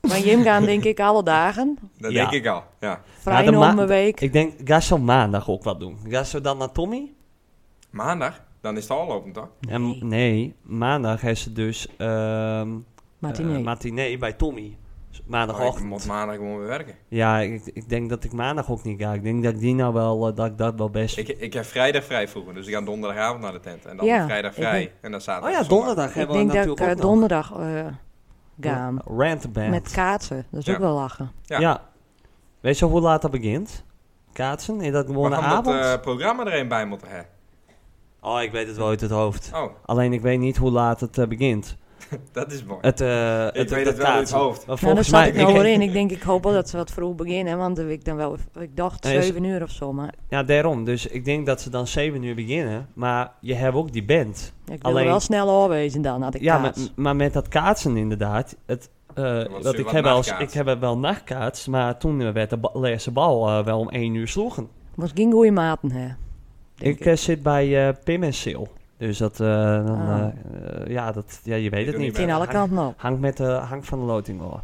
Maar Jim gaan denk ik alle dagen.
Dat
Ja.
denk ik al, ja.
Vrij
de ma-
om een week.
Ik denk, ga zo maandag ook wat doen. Ga zo dan naar Tommy?
Maandag, dan is het al lopend, toch?
En-
Nee.
nee, maandag is het dus ehm
Martinet.
eh, matinee bij Tommy. Dus
Oh, ik
Maandagochtend.
moet maandag gewoon weer werken.
ja, ik, ik denk dat ik maandag ook niet ga. Ik denk dat ik die nou wel, eh, dat ik dat wel best...
Ik, ik heb vrijdag vrij vroeger, dus ik ga donderdagavond naar de tent. En dan
Ja,
vrijdag
ik
vrij.
denk-
En dan zaterdag.
oh ja,
zondag.
donderdag
ik
hebben we
denk dat ik
natuurlijk
eh,
ook nog.
donderdag eh ga.
Rant Band.
Met kaatsen. Dat is
Ja.
ook wel lachen.
ja.
Ja.
Weet je hoe laat dat begint? Kaatsen? Is dat gewoon
We
een
gaan dat
avond?
eh, programma er een bij moeten hebben.
Oh, ik weet het wel uit het hoofd.
Oh,
Alleen ik weet niet hoe laat het eh, begint.
dat is mooi.
Het, eh het,
weet het
het
wel uit het
kaatsen.
hoofd.
Maar
Nou, daar
volgens
zat ik
mij...
nou weer in. Ik denk, ik hoop wel dat ze wat vroeg beginnen. Want ik, dan wel, ik dacht
Nee, is-
7 uur of zo. Maar
Ja, daarom. Dus ik denk dat ze dan 7 uur beginnen. Maar je hebt ook die band.
ik wil
Alleen-
er wel snel oorwezen dan, had ik
ja, maar,
kaats.
maar met dat kaatsen inderdaad. Het, eh,
was
want
weer
ik
wat
heb, wel, eens- ik
nachtkaats.
heb wel nachtkaats, maar toen eh, werd de ba- laatste bal eh, wel om 1 uur sloegen.
Was geen goede maten, hè.
Ik,
Denk
eh, zit bij eh Pim en Sil. Dus dat, eh, dan,
Ah.
eh, eh, ja, dat, ja, je weet
doe
het niet.
niet
Tegen
ben-
alle kanten op.
Hangt, met, eh, hangt van de loting hoor.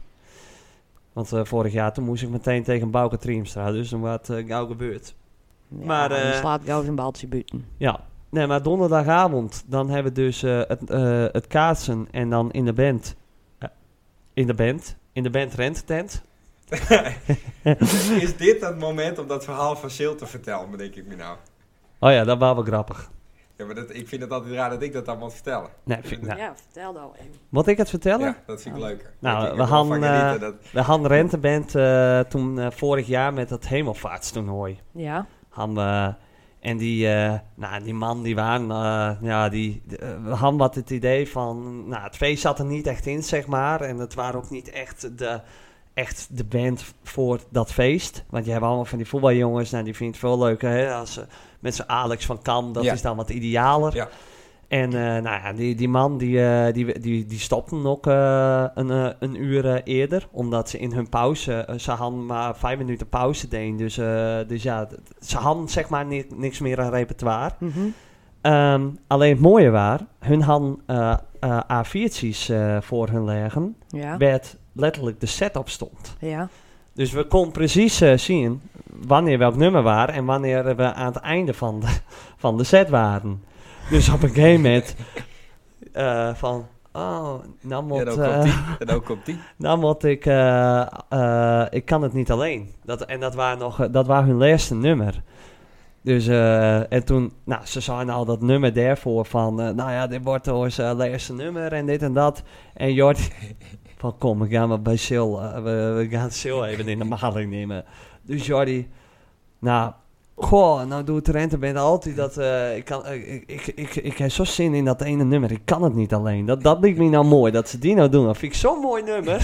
Want eh, vorig jaar toen moest ik meteen tegen Bouke Triemstra, dus dan wat het gauw gebeurd.
Ja,
Maar,
dan
eh,
slaat gauw zijn baltje buiten.
Ja, nee, maar donderdagavond dan hebben we dus eh, het, eh, het kaatsen en dan in de band. eh, in de band? In de band rentetent.
is dit het moment om dat verhaal van Sil te vertellen, bedenk ik me nou.
Oh ja, dat was wel grappig.
Ja, maar dat, ik vind het altijd raar dat ik dat dan moet vertellen.
Nee, vind, nou,
Ja, vertel nou even.
Moet ik het vertellen?
Ja, dat vind ik leuker.
Nou,
Ik- ik
we
heb wel van
gaan, eh,
genieten dat-
We hadden renteband eh, toen eh, vorig jaar met dat hemelvaartstoernooi.
Ja,
Han, eh, en die, eh, nou, die man die waren, eh, ja, die, de- eh, we hadden wat het idee van, nou, het feest zat er niet echt in, zeg maar. En het waren ook niet echt de, echt de band voor dat feest. Want je hebt allemaal van die voetbaljongens, nou, die vindt het veel leuker, hè, als ze met zo'n Alex van Kam, dat
Ja.
is dan wat idealer.
Ja.
En eh, nou ja, die, die man die, eh, die, die, die stopte nog eh, een, eh, een uur eh, eerder. Omdat ze in hun pauze, eh, ze hadden maar vijf minuten pauze deden. Dus, eh, dus ja, d- ze hadden zeg maar ni- niks meer aan repertoire.
mhm.
Ehm, alleen het mooie waar, hun hadden eh, eh, A4'tjes eh, voor hun leggen.
ja,
Werd letterlijk de setup stond.
ja.
Dus we konden precies eh, zien wanneer welk nummer waar en wanneer we aan het einde van de, van de set waren. Dus op een gegeven moment eh, van, oh, nou moet,
Ja, dan komt
eh,
die. En dan komt die.
nou moet ik, eh, eh, ik kan het niet alleen. Dat, en dat waren, nog, eh, dat waren hun laatste nummer. Dus, eh, en toen, nou, ze zeiden al dat nummer daarvoor van, eh, nou ja, dit wordt ons eh, laatste nummer en dit en dat. En Jordi, van kom, we gaan maar bij Sil, eh, we, we gaan Sil even in de maling nemen. Dus Jordi, nou, goh, nou doet Trent bent altijd dat, eh, ik, kan, eh, ik, ik, ik, ik heb zo zin in dat ene nummer, ik kan het niet alleen. Dat, dat liet me nou mooi, dat ze die nou doen, dat vind ik zo'n mooi nummer.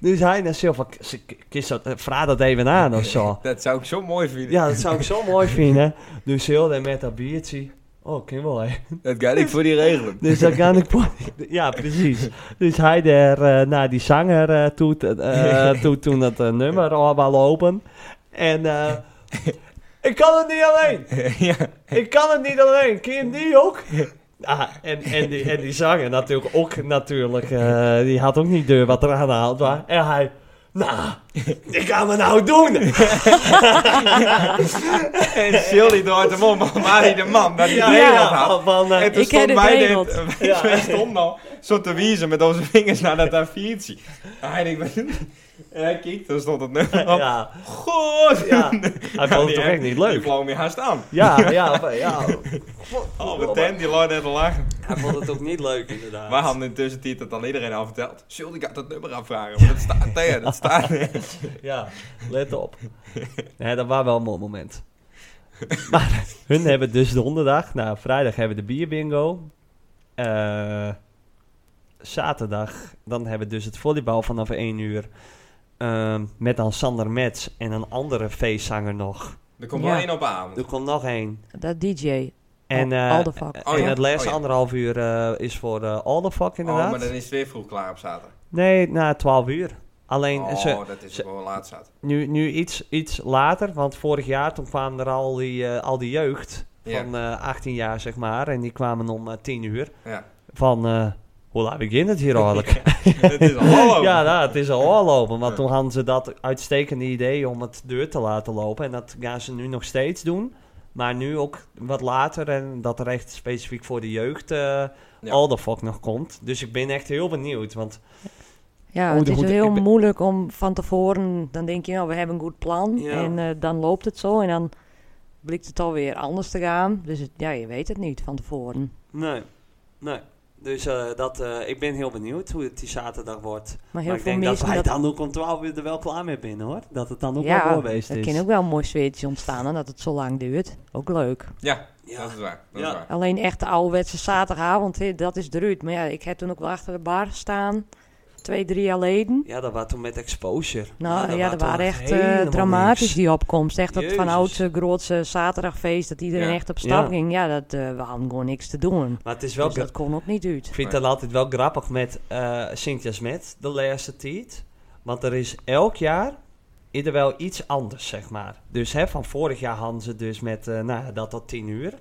dus hij naar Sil, van, "Kis- kis dat, eh, vraag dat even aan of zo.
Dat zou ik zo mooi vinden.
Ja, dat zou ik zo mooi vinden. Dus heel de met dat biertje. Oh, kan wel hè.
Dat ga ik voor die regelen.
Dus dan kan ik... Ja, precies. Dus hij daar eh, naar die zanger eh, toe, te- eh, toe toen dat eh, nummer allemaal lopen. En eh, ik kan het niet alleen.
ja.
Ik kan het niet alleen. Kun je het niet ook? Ah, en, en, die, en die zanger natuurlijk ook natuurlijk. eh, die had ook niet deur wat er aan de hand was. En hij... Nou, ik ga me nou doen.
En Sil die draait hem om, maar hij de man dat hij ja, regeld had.
van, eh,
En toen
Ik heb
stond
het
wij
regeld.
dit,
Ja.
wij stonden al zo te wiezen met onze vingers naar dat A4'tje. En hij denkt, wat doen we? En hij kijkt, dan stond het nummer op.
ja.
Goed!
Ja, hij vond het toch echt niet
Die
leuk.
vloog meer haast aan.
Ja, ja, maar- ja.
Oh, wat tent, die loopt net te lachen.
Hij vond het ook niet leuk, inderdaad.
Wij hadden intussen die dat aan iedereen al verteld. Sil, die gaat dat nummer aanvragen, want dat staat tegen, dat staat tegen.
Ja, let op. Nee, dat was wel een mooi moment. Maar hun hebben dus donderdag, nou vrijdag hebben we de bierbingo. Eh, zaterdag, dan hebben we dus het volleybal vanaf 1 uur. Ehm, met dan Sander Metz en een andere feestzanger nog.
Er komt wel
Ja.
één op avond.
Er komt nog één.
Dat DJ.
En,
Al-
eh,
Aldervak.
Oh ja.
en het laatste
oh ja.
anderhalf uur eh, is voor eh Aldervak inderdaad.
Oh, maar dan is het weer vroeg klaar op zaterdag.
Nee, na 12 uur. Alleen
Oh,
ze,
dat is
ze-
wel laat zaterdag.
nu, nu iets, iets later, want vorig jaar toen kwamen er al die, eh, al die jeugd
Ja.
van eh, 18 jaar, zeg maar. En die kwamen om eh, 10 uur.
Ja.
Van, eh, hoe laat begint het hier eigenlijk?
Het is al hallo.
ja, nou, het is al oorlopen.
Ja.
Want toen hadden ze dat uitstekende idee om het deur te laten lopen. En dat gaan ze nu nog steeds doen. Maar nu ook wat later. En dat er echt specifiek voor de jeugd eh Alderfok nog komt. Dus ik ben echt heel benieuwd. Want
Ja,
Oh,
het
dan
is
moet-
heel
ik ben-
moeilijk om van tevoren, dan denk je, nou, we hebben een goed plan.
Ja.
En eh, dan loopt het zo en dan blijkt het alweer anders te gaan. Dus het- ja, je weet het niet van tevoren.
Nee, nee. Dus eh, dat, eh, ik ben heel benieuwd hoe het die zaterdag wordt.
Maar heel
maar ik
veel
denk dat
mensen
wij dan ook om 12 uur er wel klaar mee binnen hoor. Dat het dan ook
ja,
wel doorbeest
er
is.
kan ook wel een mooi sfeertje ontstaan en dat het zo lang duurt. Ook leuk.
Ja,
Ja.
dat is waar. Dat
Ja.
is waar.
Alleen echt de ouderwetse zaterdagavond, hè, dat is eruit. Maar ja, ik heb toen ook wel achter de bar staan, twee, drie jaar geleden.
Ja, dat was toen met exposure.
Nou ja, dat
was
waren
toen
echt eh,
helemaal
dramatisch
niks.
die opkomst. Echt dat
Jezus.
van oudse, grootse zaterdagfeest, dat iedereen
Ja.
echt op stap
Ja.
ging. Ja, dat, eh, we hadden gewoon niks te doen.
Maar het is wel
dus dat
gra-
kon ook niet uit.
ik vind dat altijd wel grappig met eh Sint met de laatste tijd. Want er is elk jaar is er wel iets anders, zeg maar. Dus hè, van vorig jaar hadden ze dus met eh, nou, ja, dat tot 10 uur.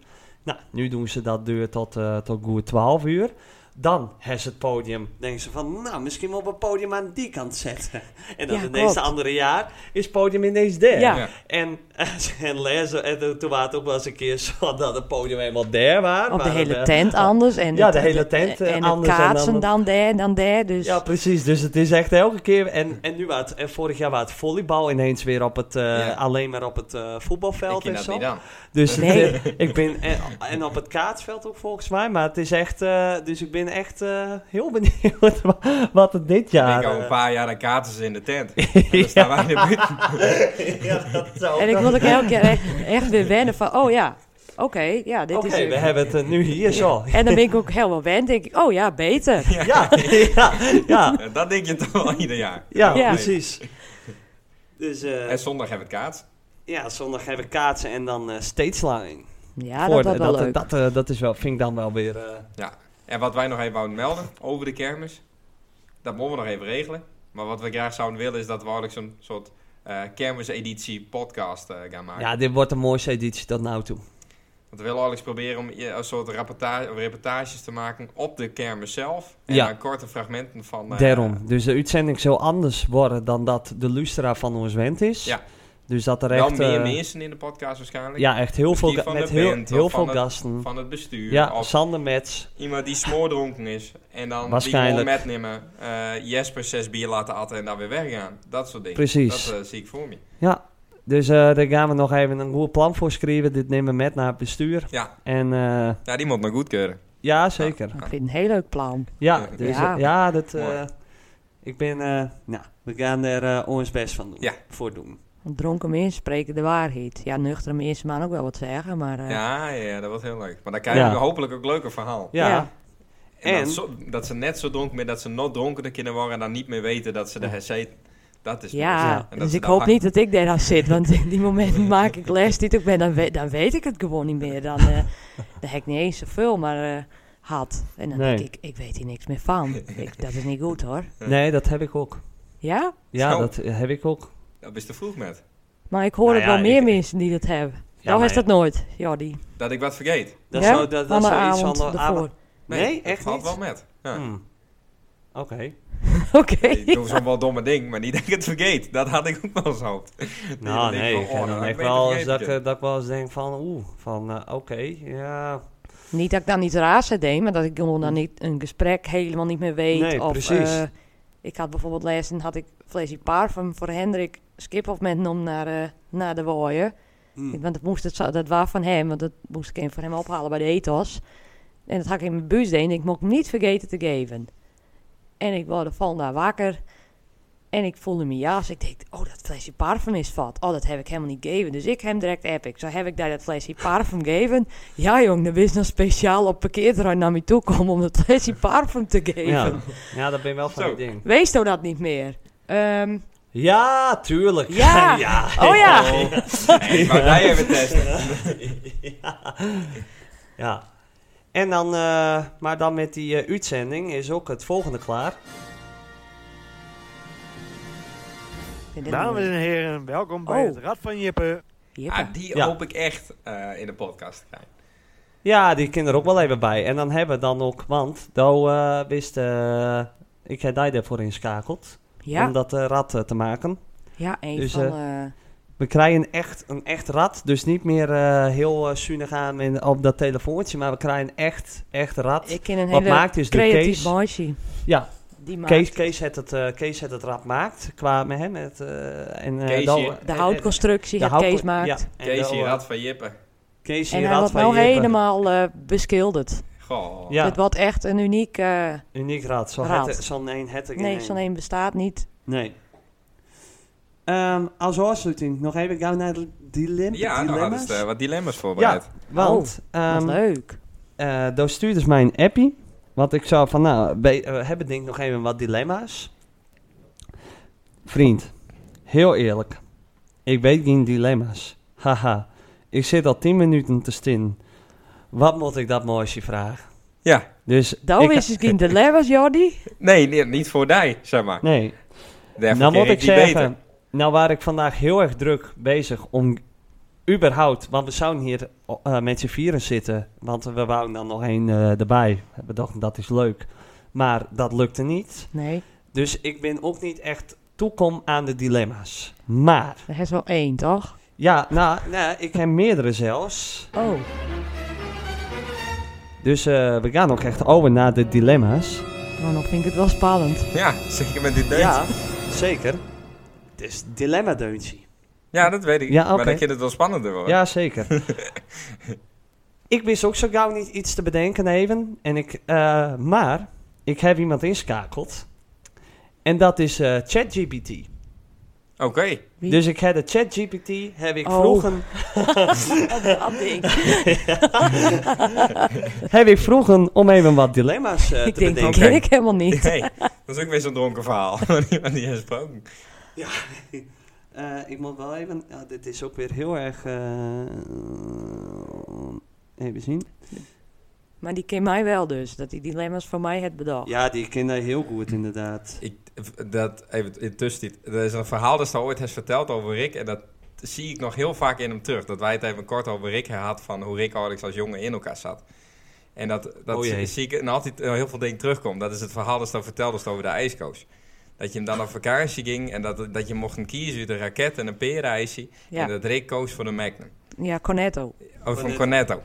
Nou, nu doen ze dat deur tot, eh tot goed 12 uur. Dan hebben ze het podium, denken ze van, nou, misschien wel op het podium aan die kant zetten. En dan
Ja,
ineens
klopt.
het andere jaar is het podium ineens daar.
Ja.
Ja.
En, en, lezen, en toen was het ook wel eens een keer zo dat het podium helemaal daar was.
Of de
maar
hele
dan, eh,
tent anders. En
Ja,
het-
de hele tent, eh,
En het
anders en dan-
kaatsen dan daar en dan daar. Dus
Ja, precies. Dus het is echt elke keer. En, en nu was het, en vorig jaar was het volleybal ineens weer op het, eh,
Ja.
alleen maar op het eh,
Ik
voetbalveld
ken
en
dat
zo.
niet aan.
Dus het,
Nee.
eh, ik ben, en, en op het kaatsveld ook volgens mij. Maar het is echt, eh, dus ik ben echt eh, heel benieuwd wa- wat het dit
Ik
jaar...
denk al een
eh,
paar jaar, dan kaarten ze in de tent. En dan staan wij in de buurt.
ja, dat zou
en ik
dan-
wil ook elke keer echt, echt weer wennen van, oh ja, oké, ja, dit
Oké,
is...
we
er.
hebben het eh, nu hier zo.
En dan ben ik ook helemaal wend, denk ik, oh ja, beter.
Ja, ja, ja, ja,
Eh, Dat denk je toch wel ieder jaar.
Ja.
precies. Dus eh,
En zondag hebben we het kaats.
ja, zondag hebben we kaatsen en dan eh statesline.
Ja,
voor-
Ah, dat was wel
dat,
leuk.
dat, eh, dat is wel, vind ik dan wel weer. eh,
En wat wij nog even wouden melden over de kermis, dat moeten we nog even regelen. Maar wat we graag zouden willen is dat we eigenlijk zo'n soort eh kermiseditie podcast eh, gaan maken.
ja, dit wordt de mooiste editie tot nou toe.
Want we willen eigenlijk proberen om eh, een soort rapporta- reportages te maken op de kermis zelf. En
Ja.
dan korte fragmenten van... eh,
Daarom. Dus de uitzending zal anders worden dan dat de Lustra van ons wend is.
Ja.
Dus dat er
Wel
echt.
meer
eh,
mensen in de podcast waarschijnlijk.
ja, echt heel veel,
Misschien
ga-
van
met
de
heel,
band of
heel
van
veel
het-
gasten.
Van het bestuur.
Ja,
of
Sander Mets.
iemand die smoordronken is. En dan die
Waarschijnlijk.
gewoon metnemen. eh Jesper zes bier laten atten en dan weer weggaan. Dat soort dingen.
Precies.
Dat eh, zie ik voor me.
Ja, Dus eh, daar gaan we nog even een goed plan voor schrijven. Dit nemen we met naar het bestuur.
Ja.
En eh,
Ja, die moet maar goedkeuren.
ja, zeker.
Ik vind het een heel leuk plan.
Ja,
Ja.
dus, eh, ja.
Ja.
dat... eh,
Mooi.
ik ben... eh, nou, we gaan er eh, ons best van doen.
Ja.
Voor doen.
Want dronken mensen spreken de waarheid. Ja, nuchtere mensen maar ook wel wat zeggen, maar... eh,
Ja, ja, dat wordt heel leuk. Maar dan krijg je
Ja.
een hopelijk ook leuker verhaal.
Ja.
Ja.
En,
En-
dat, zo- dat ze net zo dronken, maar dat ze nog dronkerder kunnen worden en dan niet meer weten dat ze de HC... Dat is nou
Ja,
Ja, en
dat
dus
ze
ik
dan
hoop
hak-
niet dat ik daar aan zit. Want in die momenten maak ik les die ik ben, dan, we- dan weet ik het gewoon niet meer. Dan, eh dan heb ik niet eens zoveel maar eh had. En dan
Nee.
denk ik, ik weet hier niks meer van. Ik, dat is niet goed hoor.
Nee, dat heb ik ook.
Ja?
Ja,
Zo.
dat heb ik ook.
Dat is te vroeg met.
Maar ik hoor
Nou
het
ja,
wel meer
ik-
mensen die dat hebben.
Ja,
nou
maar-
is dat nooit, Jordi.
Dat ik wat vergeet.
Dat
ja?
zou, dat, dat
Aan de
zou iets van
avond
de
ervoor.
avond- Nee,
dat
echt
valt
niet.
wel met. Ja.
Hmm. Oké.
Oké.
Ik doe zo'n wel domme ding, maar niet dat ik het vergeet. Dat had ik ook wel eens gehoopt.
Nou,
Die
nee,
denkt
ik
van, oh,
heb dan
nou,
echt
ik weet
wel
het
eens dat ik,
vergeten.
eh, dat ik wel eens denk van, oeh, van eh, oké, ja.
Niet dat ik dan iets raars had deed, maar dat ik gewoon dan niet een gesprek helemaal niet meer weet.
Nee,
of,
precies.
eh, ik had bijvoorbeeld les en had ik Flesje Parfum voor Hendrik Skiphoff metgenomen naar, eh, naar de Wooien.
Hmm.
Hm. Want dat, moest het, zo- dat was van hem, want dat moest ik even voor hem ophalen bij de ethos. En dat had ik in mijn bus deed en ik mocht hem niet vergeten te geven. En ik word van daar wakker en ik voelde me jas. Ik dacht, oh, dat flesje parfum is vat. Oh, dat heb ik helemaal niet gegeven. Dus ik hem direct app ik. Zo heb ik daar dat flesje parfum gegeven. Ja, jong, dan is nog speciaal op parkeerterrein naar me toe komen om dat flesje parfum te geven.
Ja, ja, dat ben je wel van
Zo.
die ding.
Wees nou dat niet meer. Ehm,
Ja, tuurlijk.
Ja. oh ja.
Ik wou jij even testen.
ja. Ja. En dan, eh, maar dan met die eh, uitzending is ook het volgende klaar. Nou,
Dames en heren, welkom bij
Oh.
het Rad van Jippen.
Jippe.
Ah, die
Ja.
hoop ik echt eh, in de podcast te krijgen.
Ja, die kinderen ook wel even bij. En dan hebben we dan ook, want, do, eh wist, eh, ik heb daar daarvoor inschakeld. Om
Ja,
dat eh, rad eh, te maken.
ja, een
dus,
van...
eh,
eh,
We krijgen echt een echt rad. Dus niet meer eh, heel eh, zuinig aan in- op dat telefoontje. Maar we krijgen echt, echt rad.
ik ken een
Wat
hele
maakt is de
creatief
Kees.
bandje.
Ja,
Die maakt
Kees, Kees, het het, eh, Kees het het rad maakt. Qua met hem. Het, eh, en, eh,
Kees
dan-
hier.
de
eh,
houtconstructie,
de
het
hout-
Kees maakt.
Ja, en
Kees
dan,
hier
eh,
had van Jippen.
Kees
En
hier
hij
rad
wordt
van
nou
Jeppe.
helemaal eh, beschilderd.
Goh.
Ja.
Dit wordt echt een uniek... eh,
Uniek rad. Zo'n
Rad.
het- Zo'n een hette
nee, zo'n een bestaat niet.
Nee. Ehm, als afsluiting nog even gaan we naar de dilemma.
Ja, daar hadden
dilemma's.
ze eh, wat dilemma's voorbereid.
Want
Oh, Wat
ehm,
leuk.
eh daar stuurde ze mij een appie. Want ik zou van, nou, we eh, hebben denk ik nog even wat dilemma's. Vriend, heel eerlijk. Ik weet geen dilemma's. Haha, ik zit al 10 minuten te stin. Wat moet ik dat mooisje vragen?
Ja.
Dus
Dat
ik-
is het geen dilemma's, Jordi.
Nee, nee, niet voor die, zeg maar.
Nee,
Daarvoor
nou
ken
moet ik
die beter.
zeggen, nou waar ik vandaag heel erg druk bezig om überhaupt, want we zouden hier eh, met z'n vieren zitten, want we wouden dan nog één eh, erbij. We dachten dat is leuk, maar dat lukte niet.
Nee,
Dus ik ben ook niet echt toekom aan de dilemma's. Maar,
er is wel één, toch?
ja, nou, nou ik heb meerdere zelfs.
Oh,
Dus eh, we gaan ook echt over naar de dilemma's.
nou, dan vind ik het wel spannend.
Ja, zeker met dit deuntje. Ja.
Ja, zeker. Dus dilemma deuntje.
dat weet ik.
Ja, oké.
Maar dan kan het wel spannender worden.
Ja, zeker. ik wist ook zo gauw niet iets te bedenken even. En ik, eh, maar ik heb iemand inschakeld. En dat is eh, ChatGPT.
Oké.
Wie?
Dus ik heb de ChatGPT, heb ik
Oh.
vroegen,
Dat ding.
heb ik vroegen om even wat dilemma's eh,
ik
te
denk,
bedenken.
dat
Oké.
ken ik helemaal niet.
Nee, dat is ook weer zo'n dronken verhaal. Niemand die heeft gesproken.
Eh, ik moet wel even, ja, dit is ook weer heel erg, eh, even zien.
Maar die kent mij wel dus, dat die dilemma's voor mij het bedacht.
Ja, die kinderen heel goed inderdaad.
Ik, dat, even intussen dit. Er is een verhaal dat ze ooit heeft verteld over Rick. En dat zie ik nog heel vaak in hem terug. Dat wij het even kort over Rick had. Van hoe Rick Alex als jongen in elkaar zat. En dat, dat
Oh jee.
zie ik en altijd eh, heel veel dingen terugkomt. Dat is het verhaal dat ze dan vertelde als het over de ijskoos. Dat je hem dan op vakantie ging. En dat, dat je mocht hem kiezen uit een raket en een perenijsje.
Ja,
En dat Rick koos voor de Magnum.
ja Cornetto.
Of van Cornetto.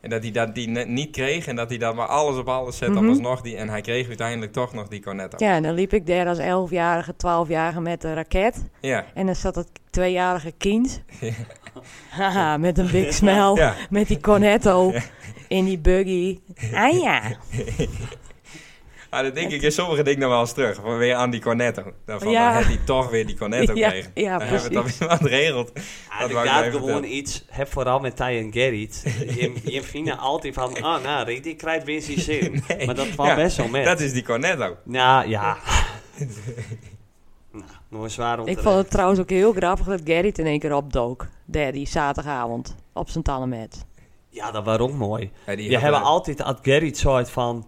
En dat hij dat die net niet kreeg en dat hij dat maar alles op alles zette.
Mhm.
Dan was nog die, en hij kreeg uiteindelijk toch nog die cornetto.
Ja, en dan liep ik daar als 11-jarige, 12-jarige met een raket.
Ja.
En dan zat dat tweejarige kind.
Ja.
Haha, met een big smell.
Ja.
Met die cornetto in die buggy. Ah ja.
Maar dat Ah, denk ik in sommige dingen nog wel eens terug. Van weer aan die cornetto. Dan van,
Ja.
dan had hij toch weer die cornetto
Ja,
kreeg.
ja,
dan hebben we het dan
precies.
weer wat geregeld.
Ja,
Dat
ik
wou ik
had
even
Ah, gewoon
vertellen.
iets, heb vooral met Ty en Gerrit. Je, je vindt altijd van, ah nou, die, die krijgt weer zijn zin.
Nee.
Maar dat valt
Ja,
best wel mee.
Dat is die cornetto.
Nou ja. nou, nog een zwaar
Ik
onterecht.
vond het trouwens ook heel grappig dat Gerrit in één keer opdook. Daar die zaterdagavond. Op zijn tannenmet.
Ja, dat was ook mooi.
Ja, die
je
had,
hebt
eh,
altijd had Gerrit soort van,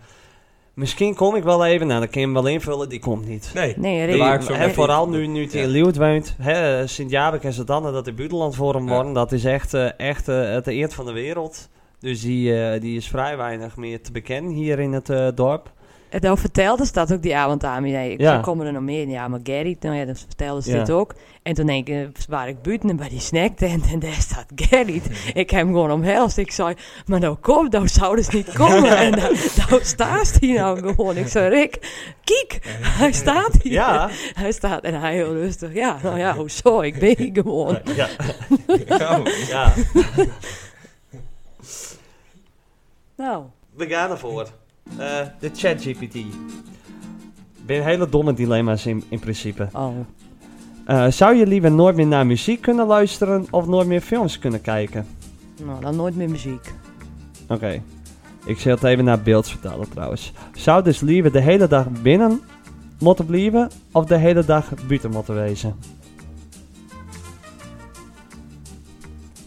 misschien kom ik wel even. Nou, dan kan je hem wel invullen, die komt niet.
Nee.
Nee,
Die
Rick.
waren zo
en
met-
vooral nu, nu hij
Ja.
in Leeuwarden woont. hè, Sint-Jabek en Zadanne, dat in buitenland voor hem
Ja.
worden. Dat is echt, eh, echt eh, het eerd van de wereld. Dus die, eh, die is vrij weinig meer te bekennen hier in het eh, dorp.
En dan vertelde ze dat ook die avond aan me. Nee, ik
Ja.
zei, komen er nog meer. Ja, maar Gerrit, nou ja, dan vertelde ze
Ja.
dit ook. En toen denk ik, eh, waar ik buiten bij die snacktent en daar staat Gerrit. ik heb hem gewoon omhelst. Ik zei, maar nou kom, nou zouden ze niet komen. en dan, nou staat hij nou gewoon. Ik zei, Rick, kiek, hij staat hier.
Ja,
Hij staat en hij heel rustig. Ja, nou ja, hoezo, ik ben hier gewoon.
ja,
Oh,
ja.
Nou,
We gaan ervoor. Eh, de ChatGPT. Weer hele domme dilemma's in, in principe.
oh.
Eh, zou je liever nooit meer naar muziek kunnen luisteren of nooit meer films kunnen kijken?
Nou, dan nooit meer muziek.
Oké. Ik zal het even naar beeld vertalen trouwens. Zou dus liever de hele dag binnen moeten blijven of de hele dag buiten moeten wezen?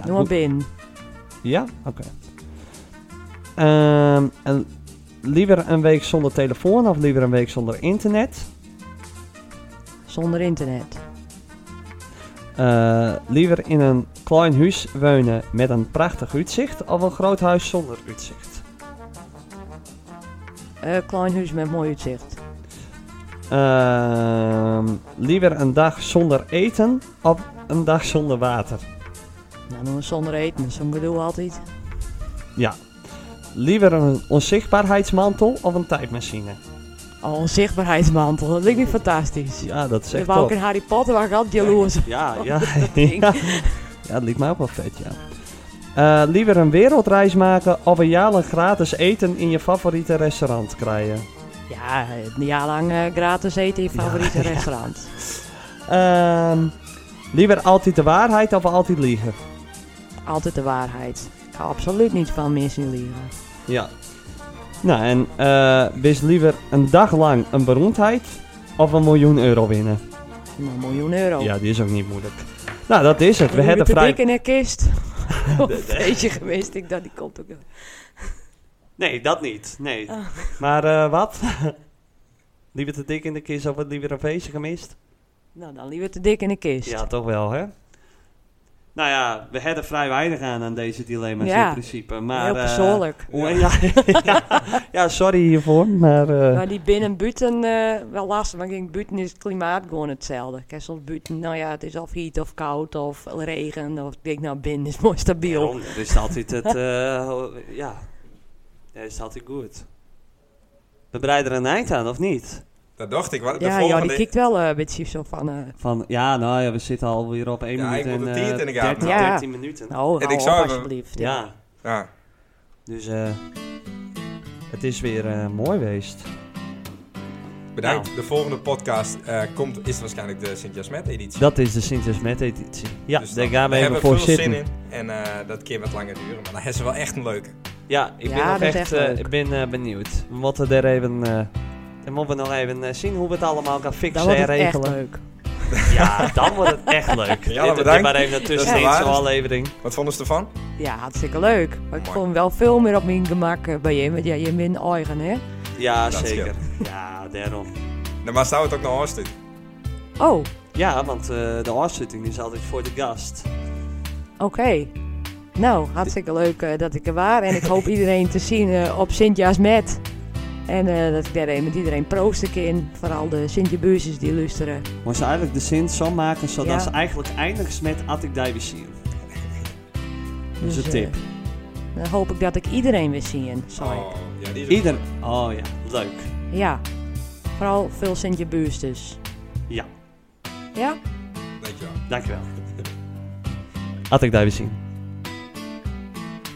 Doe maar binnen.
Ja? Oké. Ehm, en liever een week zonder telefoon of liever een week zonder internet?
Zonder internet.
Eh, liever in een klein huis wonen met een prachtig uitzicht of een groot huis zonder uitzicht?
Eh, klein huis met mooi uitzicht.
Ehm, liever een dag zonder eten of een dag zonder water?
Nou, noem maar zonder eten. Zo'n bedoel altijd.
Ja. Liever een onzichtbaarheidsmantel of een tijdmachine?
Oh, onzichtbaarheidsmantel. Dat lijkt me fantastisch.
Ja, dat is
Ik
echt
wou ook
top.
in Harry Potter, waar ik altijd jaloers op.
Ja, ja.
ding.
ja. Ja, dat lijkt mij ook wel vet, ja. Eh, liever een wereldreis maken of een jaar lang gratis eten in je favoriete restaurant krijgen?
Ja, een jaar lang eh, gratis eten in je favoriete restaurant.
Ehm, liever altijd de waarheid of altijd liegen?
Altijd de waarheid. Ik ga absoluut niet van mensen leren.
Ja. Nou, en eh wees liever een dag lang een beroemdheid of een miljoen euro winnen?
Nou, een miljoen euro.
Ja, die is ook niet moeilijk. Nou, dat is het. We
Een
hebben
te
vrij...
dik in een kist. Of een beetje geweest. Ik dacht, die komt ook nog.
Nee, dat niet. Nee.
Ah.
Maar eh, wat? liever te dik in de kist of wat liever een feestje gemist?
Nou, dan liever te dik in een kist.
Ja, toch wel, hè? Nou ja, we hebben vrij weinig aan aan deze dilemma's
Ja.
in principe. Maar,
Heel
eh,
persoonlijk.
hoe- ja, ja, ja, sorry hiervoor, maar... eh,
Maar die binnen buiten eh, wel lastig. Want ik denk, buiten is het klimaat gewoon hetzelfde. Kijk, soms buiten, nou ja, het is of heet of koud of regen. Of ik denk, nou, binnen is mooi stabiel.
Daarom, Er is altijd het, eh, ho- ja, er is altijd goed. We breiden er een eind aan, of niet?
dat dacht ik. Wat, de
ja, ja,
volgende...
die kijkt wel eh, een beetje zo van, eh,
Van, ja, nou ja, we zitten alweer op 1
Ja,
minuut
ik moet
en
het tiert in de
eh,
gaten
13,
houden. Ja.
13 minuten.
nou, hou
En ik
op
zou even-
alsjeblieft.
Ja,
Ja.
dus eh, het is weer eh, mooi geweest.
Bedankt. De volgende podcast eh, komt, is waarschijnlijk de Sint-Jasmet-editie.
Dat is de Sintjes Met editie. Ja,
Dus
daar
dan-
gaan we even
hebben
voor
veel
zitten.
zin in. En eh, dat keer wat langer duren. Maar dan is ze wel echt een leuke.
Ja, ik
Ja,
ben ook
dat is
echt
echt
eh,
leuk.
ik ben, eh, benieuwd. We moeten er even, eh dan moeten we nog even eh, zien hoe we het allemaal gaan
Dan
fixen
wordt
en
het echt
regelen.
leuk.
Ja, dan wordt het echt leuk.
Ja,
dit,
bedankt.
dit maar even een tussenin
waar.
zo'n aflevering.
Wat vonden ze ervan?
Ja, hartstikke leuk. Maar
Mooi.
ik vond hem wel veel meer op mijn gemak eh, bij je. Want ja, je bent min eigen, hè?
Ja,
Dat
zeker. Ja, daarom.
Nou, maar zou het ook naar Horst doen?
Oh, oké.
Ja, want eh, de afzitting is altijd voor de gast.
Nou, hartstikke leuk eh, dat ik er was. En ik hoop iedereen te zien eh, op Sint-Jaas Met. En eh, dat ik daar even met iedereen proost ik in. Vooral de Sint-Jabuzes die luisteren.
Moest eigenlijk de zin zo maken zodat
Ja.
ze eigenlijk eindigt met Attic Division. Dus een
eh,
tip.
Dan hoop ik dat ik iedereen weer zie. Sorry.
Oh, ja, die is ook
Ieder. Oh ja, leuk.
Ja. Vooral veel sint buurs dus.
Ja,
Ja?
leuk. Dankjewel.
dankjewel. Had ik daar weer zien.